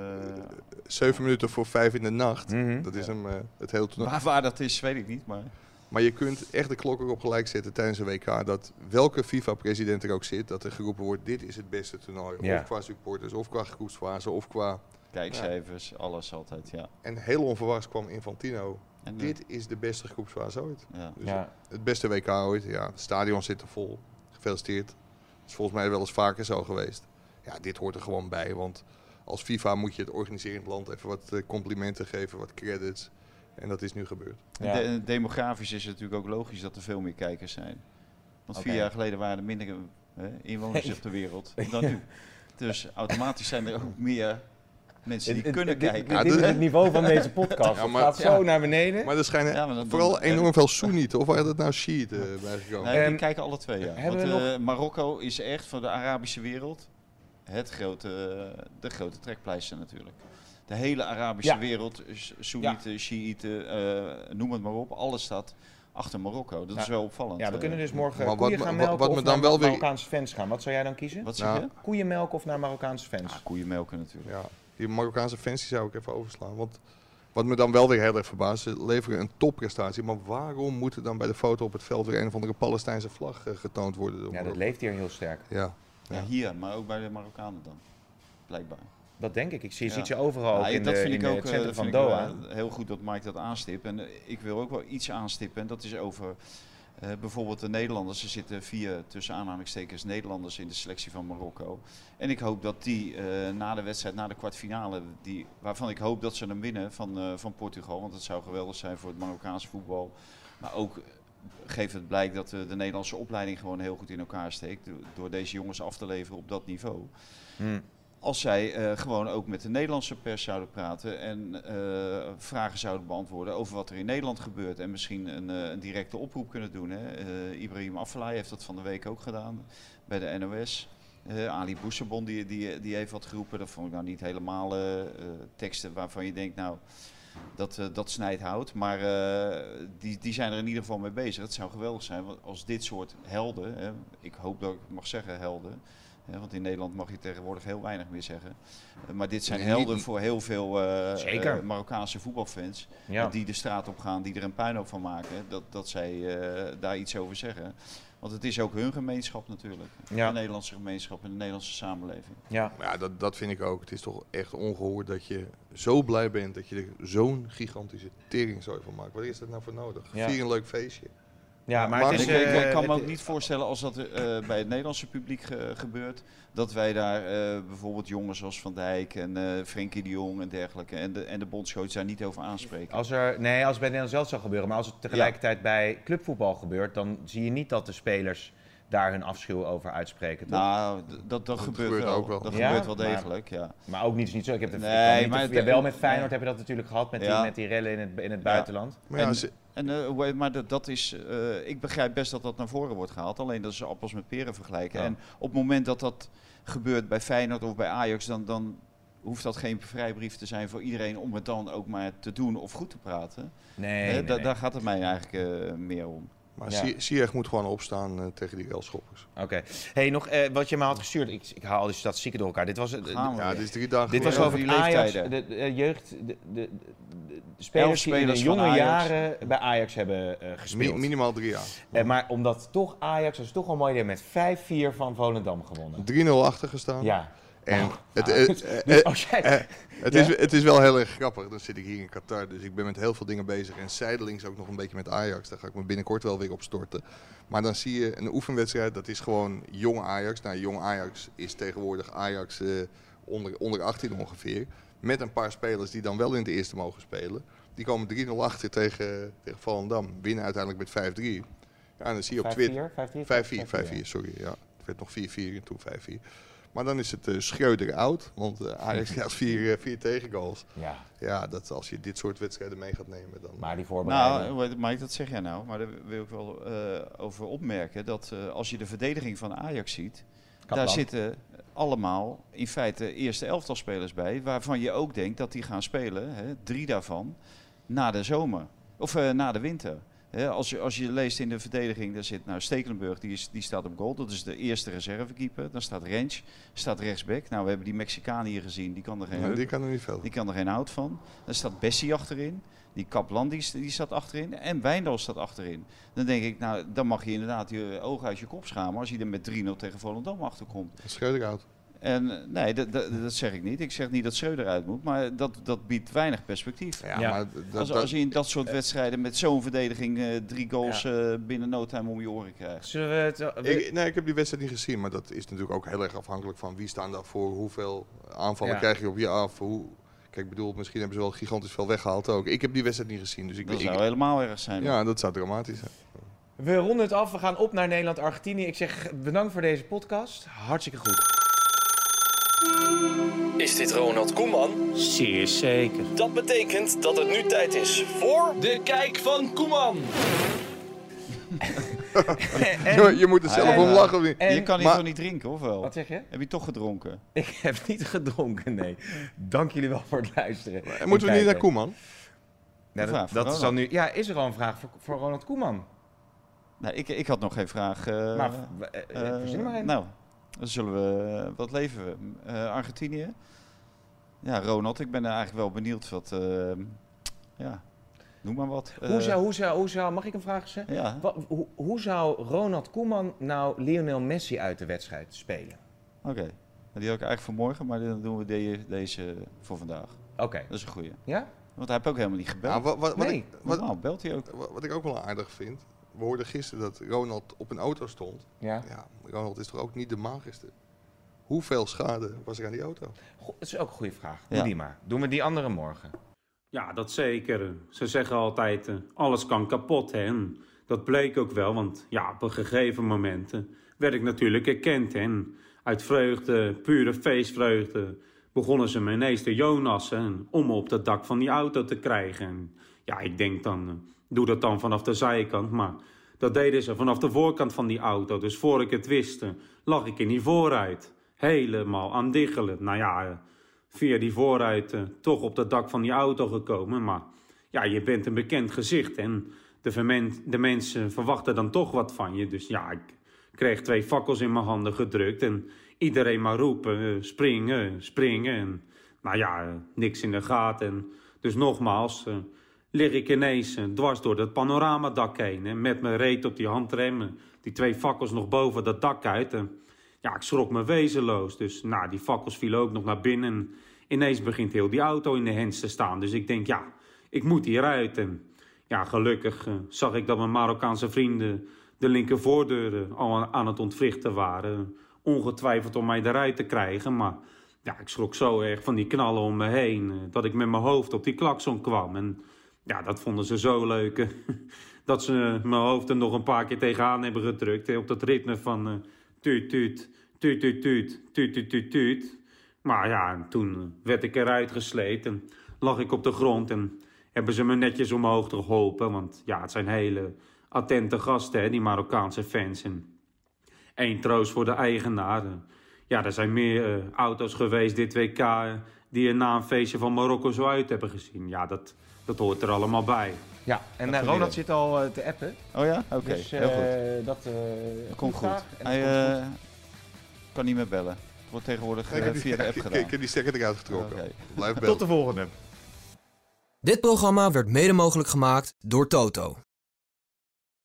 [SPEAKER 7] Zeven minuten voor vijf in de nacht.
[SPEAKER 5] Mhm.
[SPEAKER 7] Dat is hem eh, het hele toernooi.
[SPEAKER 6] waar, waar dat is, weet ik niet. Maar
[SPEAKER 7] Maar je kunt echt de klok erop gelijk zetten tijdens een WK. Dat welke FIFA-president er ook zit, dat er geroepen wordt: dit is het beste toernooi.
[SPEAKER 5] Ja.
[SPEAKER 7] Of qua supporters, of qua groepsfase, of qua.
[SPEAKER 6] kijkcijfers, alles altijd, ja.
[SPEAKER 7] En heel onverwachts kwam Infantino.
[SPEAKER 6] En, eh,
[SPEAKER 7] Dit is de beste groepsfase ooit.
[SPEAKER 6] ja.
[SPEAKER 7] Dus
[SPEAKER 5] Ja.
[SPEAKER 7] Het beste WK ooit. Ja, het stadion zit er vol. Gefeliciteerd. Dat is volgens mij wel eens vaker zo geweest. Ja, dit hoort er gewoon bij. Want als FIFA moet je het organiserend land even wat eh, complimenten geven, wat credits. En dat is nu gebeurd.
[SPEAKER 5] Ja.
[SPEAKER 6] En de- demografisch is het natuurlijk ook logisch dat er veel meer kijkers zijn. Want vier
[SPEAKER 5] Oké.
[SPEAKER 6] jaar geleden waren er minder eh, inwoners op de wereld dan nu. Dus automatisch zijn er ook meer Mensen die
[SPEAKER 5] Het-
[SPEAKER 6] kunnen
[SPEAKER 5] het- dit-
[SPEAKER 6] kijken.
[SPEAKER 5] Dit,
[SPEAKER 7] Ja,
[SPEAKER 5] dit
[SPEAKER 7] dat-
[SPEAKER 5] is het niveau van deze podcast.
[SPEAKER 7] Ja,
[SPEAKER 5] Het
[SPEAKER 7] maar-
[SPEAKER 5] gaat zo naar beneden.
[SPEAKER 7] Maar er schijnen
[SPEAKER 6] Ja, maar dat
[SPEAKER 7] vooral
[SPEAKER 6] doen-
[SPEAKER 7] enorm veel Soenieten. Of waren dat nou Shiiten eh, bijgekomen?
[SPEAKER 6] Nee,
[SPEAKER 5] Ehm,
[SPEAKER 6] die kijken alle twee. Ja. Want
[SPEAKER 5] hebben we
[SPEAKER 6] eh, Marokko is echt voor de Arabische wereld het grote, eh, de grote trekpleister natuurlijk. De hele Arabische
[SPEAKER 5] Ja.
[SPEAKER 6] wereld, S- Soenieten, Shiiten, eh, noem het maar op, alles staat achter Marokko. Dat
[SPEAKER 5] Ja.
[SPEAKER 6] is wel opvallend.
[SPEAKER 5] Ja, we
[SPEAKER 6] eh.
[SPEAKER 5] kunnen dus morgen
[SPEAKER 7] Maar wat
[SPEAKER 5] koeien
[SPEAKER 7] me-
[SPEAKER 5] gaan
[SPEAKER 7] wat-
[SPEAKER 5] melken
[SPEAKER 7] wat
[SPEAKER 5] of
[SPEAKER 7] me
[SPEAKER 5] naar
[SPEAKER 7] dan wel weer-
[SPEAKER 5] Marokkaanse fans gaan. Wat zou jij dan kiezen?
[SPEAKER 6] Wat zeg
[SPEAKER 7] Nou,
[SPEAKER 6] je?
[SPEAKER 5] Koeien melken of naar Marokkaanse fans?
[SPEAKER 6] Ah, koeien melken natuurlijk.
[SPEAKER 7] Ja, die Marokkaanse fans die zou ik even overslaan. Want wat me dan wel weer heel erg verbaast, ze leveren een topprestatie. Maar waarom moet er dan bij de foto op het veld weer een of andere Palestijnse vlag eh, getoond worden? door
[SPEAKER 5] ja, dat
[SPEAKER 7] Marokko?
[SPEAKER 5] leeft hier heel sterk.
[SPEAKER 7] ja.
[SPEAKER 6] Ja. hier, maar ook bij de Marokkanen dan. Blijkbaar.
[SPEAKER 5] Dat denk ik. Ik zie, je
[SPEAKER 6] Ja.
[SPEAKER 5] ziet ze overal ook
[SPEAKER 6] Ja,
[SPEAKER 5] in,
[SPEAKER 6] dat
[SPEAKER 5] de,
[SPEAKER 6] vind
[SPEAKER 5] in
[SPEAKER 6] ik
[SPEAKER 5] de-
[SPEAKER 6] ook
[SPEAKER 5] het
[SPEAKER 6] eh,
[SPEAKER 5] centrum
[SPEAKER 6] dat
[SPEAKER 5] van
[SPEAKER 6] vind ik,
[SPEAKER 5] Doha.
[SPEAKER 6] eh, heel goed dat Mike dat aanstipt. En eh, ik wil ook wel iets aanstippen. En dat is over eh, bijvoorbeeld de Nederlanders. Er zitten vier tussen aanhalingstekens Nederlanders in de selectie van Marokko. En ik hoop dat die eh, na de wedstrijd, na de kwartfinale, die, waarvan ik hoop dat ze hem winnen van, eh, van Portugal. Want dat zou geweldig zijn voor het Marokkaanse voetbal. Maar ook eh, geeft het blijk dat eh, de Nederlandse opleiding gewoon heel goed in elkaar steekt. do- Door deze jongens af te leveren op dat niveau
[SPEAKER 5] Hmm.
[SPEAKER 6] als zij eh, gewoon ook met de Nederlandse pers zouden praten en eh, vragen zouden beantwoorden over wat er in Nederland gebeurt. En misschien een, eh, een directe oproep kunnen doen. Hè. Eh, Ibrahim Afellay heeft dat van de week ook gedaan bij de NOS. Eh, Ali Boussabon die, die, die heeft wat geroepen. Dat vond ik nou niet helemaal eh, eh, teksten waarvan je denkt, nou, dat, eh, dat snijdt hout. Maar eh, die, die zijn er in ieder geval mee bezig. Het zou geweldig zijn want als dit soort helden, hè, ik hoop dat ik mag zeggen helden, Hè, want in Nederland mag je tegenwoordig heel weinig meer zeggen. Eh, maar dit zijn
[SPEAKER 7] Nee,
[SPEAKER 6] helden
[SPEAKER 7] niet-
[SPEAKER 6] voor heel veel eh,
[SPEAKER 5] Zeker.
[SPEAKER 6] eh, Marokkaanse voetbalfans.
[SPEAKER 5] Ja.
[SPEAKER 6] Die de straat op gaan, die er een puinhoop van maken. Dat, dat zij eh, daar iets over zeggen. Want het is ook hun gemeenschap natuurlijk.
[SPEAKER 5] Ja.
[SPEAKER 6] De Nederlandse gemeenschap en de Nederlandse samenleving.
[SPEAKER 5] Ja.
[SPEAKER 7] Maar ja, dat, dat vind ik ook. Het is toch echt ongehoord dat je zo blij bent dat je er zo'n gigantische teringzooi van maakt. Wat is dat nou voor nodig?
[SPEAKER 5] Ja.
[SPEAKER 7] Vier een leuk feestje.
[SPEAKER 5] ja, maar
[SPEAKER 7] Maar
[SPEAKER 5] het is...
[SPEAKER 6] ik, ik-
[SPEAKER 5] eh,
[SPEAKER 6] ik kan me ook
[SPEAKER 5] het-
[SPEAKER 6] niet voorstellen als dat eh, bij het Nederlandse publiek ge- gebeurt. Dat wij daar eh, bijvoorbeeld jongens als Van Dijk en eh Frenkie de Jong en dergelijke. En de, en de bondscoach daar niet over aanspreken.
[SPEAKER 5] Als er, nee, als het bij Nederland zelf zou gebeuren. Maar als het tegelijkertijd bij clubvoetbal gebeurt, dan zie je niet dat de spelers daar hun afschuw over uitspreken. toch?
[SPEAKER 6] Nou, d- dat, dat, gebeurt,
[SPEAKER 7] gebeurt
[SPEAKER 6] wel.
[SPEAKER 7] ook wel.
[SPEAKER 6] Dat
[SPEAKER 5] Ja?
[SPEAKER 6] gebeurt wel
[SPEAKER 5] Maar-
[SPEAKER 6] degelijk, ja.
[SPEAKER 5] maar ook niet, is niet zo. Ik heb de, ik
[SPEAKER 6] Nee,
[SPEAKER 5] kan niet
[SPEAKER 6] maar
[SPEAKER 5] de-
[SPEAKER 6] het-
[SPEAKER 5] ja, wel met
[SPEAKER 6] nee.
[SPEAKER 5] Feyenoord heb je dat natuurlijk gehad, met,
[SPEAKER 6] Ja.
[SPEAKER 5] die, met die rellen in het, in het buitenland.
[SPEAKER 7] Maar ja,
[SPEAKER 6] En-
[SPEAKER 7] ze-
[SPEAKER 6] En, eh, hoe heet- maar dat, dat is, eh, ik begrijp best dat dat naar voren wordt gehaald. Alleen dat is appels met peren vergelijken.
[SPEAKER 5] Ja.
[SPEAKER 6] En op het moment dat dat gebeurt bij Feyenoord of bij Ajax, dan, dan hoeft dat geen vrijbrief te zijn voor iedereen om het dan ook maar te doen of goed te praten.
[SPEAKER 5] Nee,
[SPEAKER 6] Eh,
[SPEAKER 5] nee,
[SPEAKER 6] da-
[SPEAKER 5] nee.
[SPEAKER 6] Daar gaat het mij eigenlijk eh, meer om.
[SPEAKER 7] maar
[SPEAKER 5] Ja.
[SPEAKER 7] Sier- Ziyech moet gewoon opstaan eh, tegen die elschoppers.
[SPEAKER 5] Oké. Hey, nog eh, wat je me had gestuurd. Ik, ik haal al die statistieken door elkaar. Dit was, het-
[SPEAKER 6] Gaan we
[SPEAKER 7] Ja,
[SPEAKER 6] weer.
[SPEAKER 7] dit is drie dagen
[SPEAKER 5] dit was
[SPEAKER 7] geleden.
[SPEAKER 6] over
[SPEAKER 5] over
[SPEAKER 6] die
[SPEAKER 5] het Ajax, de,
[SPEAKER 6] leeftijden.
[SPEAKER 5] de eh, jeugd, de, de, de- de spelers, die in hun
[SPEAKER 6] spelers van
[SPEAKER 5] jonge
[SPEAKER 6] Ajax.
[SPEAKER 5] jaren bij Ajax hebben eh, gespeeld.
[SPEAKER 7] Mi- minimaal drie jaar.
[SPEAKER 5] Eh, maar omdat toch Ajax, dat is toch wel mooi idee, met 5-4 van Volendam gewonnen.
[SPEAKER 7] 3-0 achtergestaan.
[SPEAKER 5] Ja.
[SPEAKER 7] En
[SPEAKER 5] Nou,
[SPEAKER 7] het,
[SPEAKER 5] nou,
[SPEAKER 7] het-
[SPEAKER 5] dus
[SPEAKER 7] het-
[SPEAKER 5] als jij-
[SPEAKER 7] eh, het,
[SPEAKER 5] Ja?
[SPEAKER 7] is, het is wel heel erg grappig. Dan zit ik hier in Qatar, dus ik ben met heel veel dingen bezig. En zijdelings ook nog een beetje met Ajax. Daar ga ik me binnenkort wel weer op storten. Maar dan zie je een oefenwedstrijd, dat is gewoon jong Ajax. Nou, jong Ajax is tegenwoordig Ajax eh, onder, onder 18 ongeveer. Met een paar spelers die dan wel in de eerste mogen spelen. Die komen 3-0 achter tegen, tegen Volendam. Winnen uiteindelijk met 5-3. Ja, en dan zie je op
[SPEAKER 5] 5-4,
[SPEAKER 7] Twitter...
[SPEAKER 5] 5-3, 5-4.
[SPEAKER 7] 5-4, 5-4, sorry. Ja. Het werd nog 4-4 en toen 5-4. Maar dan is het eh Schreuder oud, want eh, Ajax krijgt vier, eh, vier tegengoals.
[SPEAKER 5] Ja,
[SPEAKER 7] Ja, dat, als je dit soort wedstrijden mee gaat nemen, dan...
[SPEAKER 5] maar die
[SPEAKER 6] Nou,
[SPEAKER 5] voorbereiding.
[SPEAKER 6] hoe heet het, Mike, dat zeg jij nou. Maar daar wil ik wel eh, over opmerken. Dat eh, als je de verdediging van Ajax ziet. daar
[SPEAKER 5] Kaplan.
[SPEAKER 6] zitten allemaal in feite eerste elftalspelers bij. Waarvan je ook denkt dat die gaan spelen. Hè, drie daarvan. Na de zomer. Of eh, na de winter. Hè, als, je, als je leest in de verdediging. Daar zit nou Stekelenburg. Die, is, die staat op goal. Dat is de eerste reservekeeper. Dan staat Rens. Staat rechtsback. Nou, we hebben die Mexicaan hier gezien. Die kan er geen
[SPEAKER 7] Nee,
[SPEAKER 6] heup
[SPEAKER 7] die kan er niet veel.
[SPEAKER 6] die kan er geen hout van. Dan staat Bessie achterin. Die Kaplan die, st- die staat achterin. En Wijndal staat achterin. Dan denk ik, nou, dan mag je inderdaad je ogen uit je kop schamen. als je er met 3-0 tegen Volendam achterkomt.
[SPEAKER 7] Schreuder oud.
[SPEAKER 6] En eh, nee, dat, dat, dat zeg ik niet. Ik zeg niet dat Schreuder uit moet. Maar dat, dat biedt weinig perspectief.
[SPEAKER 7] Ja,
[SPEAKER 5] Ja.
[SPEAKER 7] maar d- dat,
[SPEAKER 6] als,
[SPEAKER 7] dat,
[SPEAKER 6] als je in dat soort wedstrijden met zo'n verdediging eh, drie goals eh, binnen no time om je oren krijgt.
[SPEAKER 5] eh, Zullen we het...
[SPEAKER 7] ik, nee, ik heb die wedstrijd niet gezien, maar dat is natuurlijk ook heel erg afhankelijk van wie staan daarvoor, hoeveel aanvallen
[SPEAKER 5] Ja.
[SPEAKER 7] krijg je op je af, hoe... Kijk, ik bedoel, misschien hebben ze wel gigantisch veel weggehaald ook. Ik heb die wedstrijd niet gezien, dus ik...
[SPEAKER 6] Dat
[SPEAKER 7] ik-
[SPEAKER 6] zou helemaal erg zijn.
[SPEAKER 7] ja, dat zou dramatisch zijn.
[SPEAKER 5] We ronden het af. We gaan op naar Nederland-Argentinië. Ik zeg bedankt voor deze podcast. Hartstikke goed.
[SPEAKER 8] Is dit Ronald Koeman?
[SPEAKER 5] Zeer zeker.
[SPEAKER 8] Dat betekent dat het nu tijd is voor de kijk van Koeman.
[SPEAKER 7] Je, je moet er zelf om lachen of niet?
[SPEAKER 9] En-
[SPEAKER 6] Ah, je kan hier
[SPEAKER 7] maar-
[SPEAKER 6] toch niet drinken, of wel?
[SPEAKER 9] Wat zeg je?
[SPEAKER 6] Heb je toch gedronken?
[SPEAKER 9] Ik heb niet gedronken, nee. Dank jullie wel voor het luisteren.
[SPEAKER 7] En Eh, moeten we niet naar
[SPEAKER 9] Kijken.
[SPEAKER 7] Koeman?
[SPEAKER 9] Ja,
[SPEAKER 6] Een vraag
[SPEAKER 9] dat
[SPEAKER 6] voor
[SPEAKER 9] dat is dan
[SPEAKER 6] Ronald.
[SPEAKER 9] nu. Ja, is er al een vraag voor, voor Ronald Koeman?
[SPEAKER 6] Nou, ik, ik had nog geen vraag. eh,
[SPEAKER 9] maar v- eh, eh,
[SPEAKER 6] eh,
[SPEAKER 9] verzin maar één.
[SPEAKER 6] Nou, dan zullen we... Wat leven we? Eh, Argentinië? Ja, Ronald, ik ben eigenlijk wel benieuwd wat... eh, ja, noem maar wat. Eh,
[SPEAKER 9] hoe, zou, hoe, zou, hoe zou, mag ik een vraag stellen?
[SPEAKER 6] Ja,
[SPEAKER 9] Wa- hoe, hoe zou Ronald Koeman nou Lionel Messi uit de wedstrijd spelen?
[SPEAKER 6] oké. Die had ik eigenlijk voor morgen, maar dan doen we de- deze voor vandaag.
[SPEAKER 9] Oké,
[SPEAKER 6] Dat is een goeie.
[SPEAKER 9] ja?
[SPEAKER 6] Want hij heeft ook helemaal niet gebeld.
[SPEAKER 7] Ja, wat, wat, Nou, wat,
[SPEAKER 9] Nee.
[SPEAKER 7] ik, wat,
[SPEAKER 6] Normaal belt hij ook.
[SPEAKER 7] wat- wat ik ook wel aardig vind. We hoorden gisteren dat Ronald op een auto stond.
[SPEAKER 9] Ja.
[SPEAKER 7] Ja, Ronald is toch ook niet de magister? Hoeveel schade was er aan die auto?
[SPEAKER 9] Go- dat is ook een goede vraag. Doe
[SPEAKER 6] Ja.
[SPEAKER 9] die maar. Doen we die andere morgen.
[SPEAKER 5] Ja, dat zeker. Ze zeggen altijd, eh, alles kan kapot, hè. En dat bleek ook wel, want ja, op een gegeven moment eh, werd ik natuurlijk erkend, hè. En uit vreugde, pure feestvreugde, begonnen ze me ineens te jonassen hè, om me op dat dak van die auto te krijgen. En ja, ik denk dan, eh, doe dat dan vanaf de zijkant, maar dat deden ze vanaf de voorkant van die auto. Dus voor ik het wist, eh, lag ik in die vooruit. Helemaal aan diggelen. Nou ja... eh, via die vooruit eh, toch op dat dak van die auto gekomen. Maar ja, je bent een bekend gezicht en de, vermen- de mensen verwachten dan toch wat van je. Dus ja, ik kreeg twee fakkels in mijn handen gedrukt en iedereen maar roepen, eh, springen, springen. En nou ja, eh, niks in de gaten. En dus nogmaals, eh, lig ik ineens eh, dwars door dat panoramadak heen. En met mijn reet op die handremmen, die twee fakkels nog boven dat dak uit. En ja, ik schrok me wezenloos. Dus nou, die fakkels vielen ook nog naar binnen. En ineens begint heel die auto in de hens te staan. Dus ik denk, ja, ik moet hieruit. En ja, gelukkig eh, zag ik dat mijn Marokkaanse vrienden de linkervoordeuren al aan- aan het ontwrichten waren. Ongetwijfeld om mij eruit te krijgen. Maar ja, ik schrok zo erg van die knallen om me heen. eh, dat ik met mijn hoofd op die klakson kwam. En ja, dat vonden ze zo leuk. eh, dat ze eh, mijn hoofd er nog een paar keer tegenaan hebben gedrukt. eh, op dat ritme van eh tuut, tuut, tuut, tuut, tuut, tuut, tuut, tuut, tuut. Maar ja, en toen eh, werd ik eruit gesleept en lag ik op de grond. En hebben ze me netjes omhoog geholpen. Want ja, het zijn hele attente gasten, hè, die Marokkaanse fans. En één troost voor de eigenaren. Ja, er zijn meer eh, auto's geweest dit WK eh, die er na een feestje van Marokko zo uit hebben gezien. Ja, dat, dat hoort er allemaal bij.
[SPEAKER 9] Ja, en eh,
[SPEAKER 6] goed
[SPEAKER 9] Ronald
[SPEAKER 6] idee.
[SPEAKER 9] zit al eh, te appen.
[SPEAKER 6] Oh ja? Oké,
[SPEAKER 9] dus
[SPEAKER 6] heel goed.
[SPEAKER 9] eh, dat eh,
[SPEAKER 6] Dat komt goed.
[SPEAKER 9] vraag. En dat
[SPEAKER 6] Hij
[SPEAKER 9] komt goed.
[SPEAKER 6] eh, kan niet meer bellen. Het wordt tegenwoordig
[SPEAKER 7] Ik
[SPEAKER 6] eh,
[SPEAKER 7] heb die-
[SPEAKER 6] via de app
[SPEAKER 7] ik-
[SPEAKER 6] gedaan.
[SPEAKER 7] Ik heb die stekker eruit getrokken.
[SPEAKER 6] Oké.
[SPEAKER 7] Blijf bellen.
[SPEAKER 9] Tot de volgende.
[SPEAKER 1] Dit programma werd mede mogelijk gemaakt door Toto.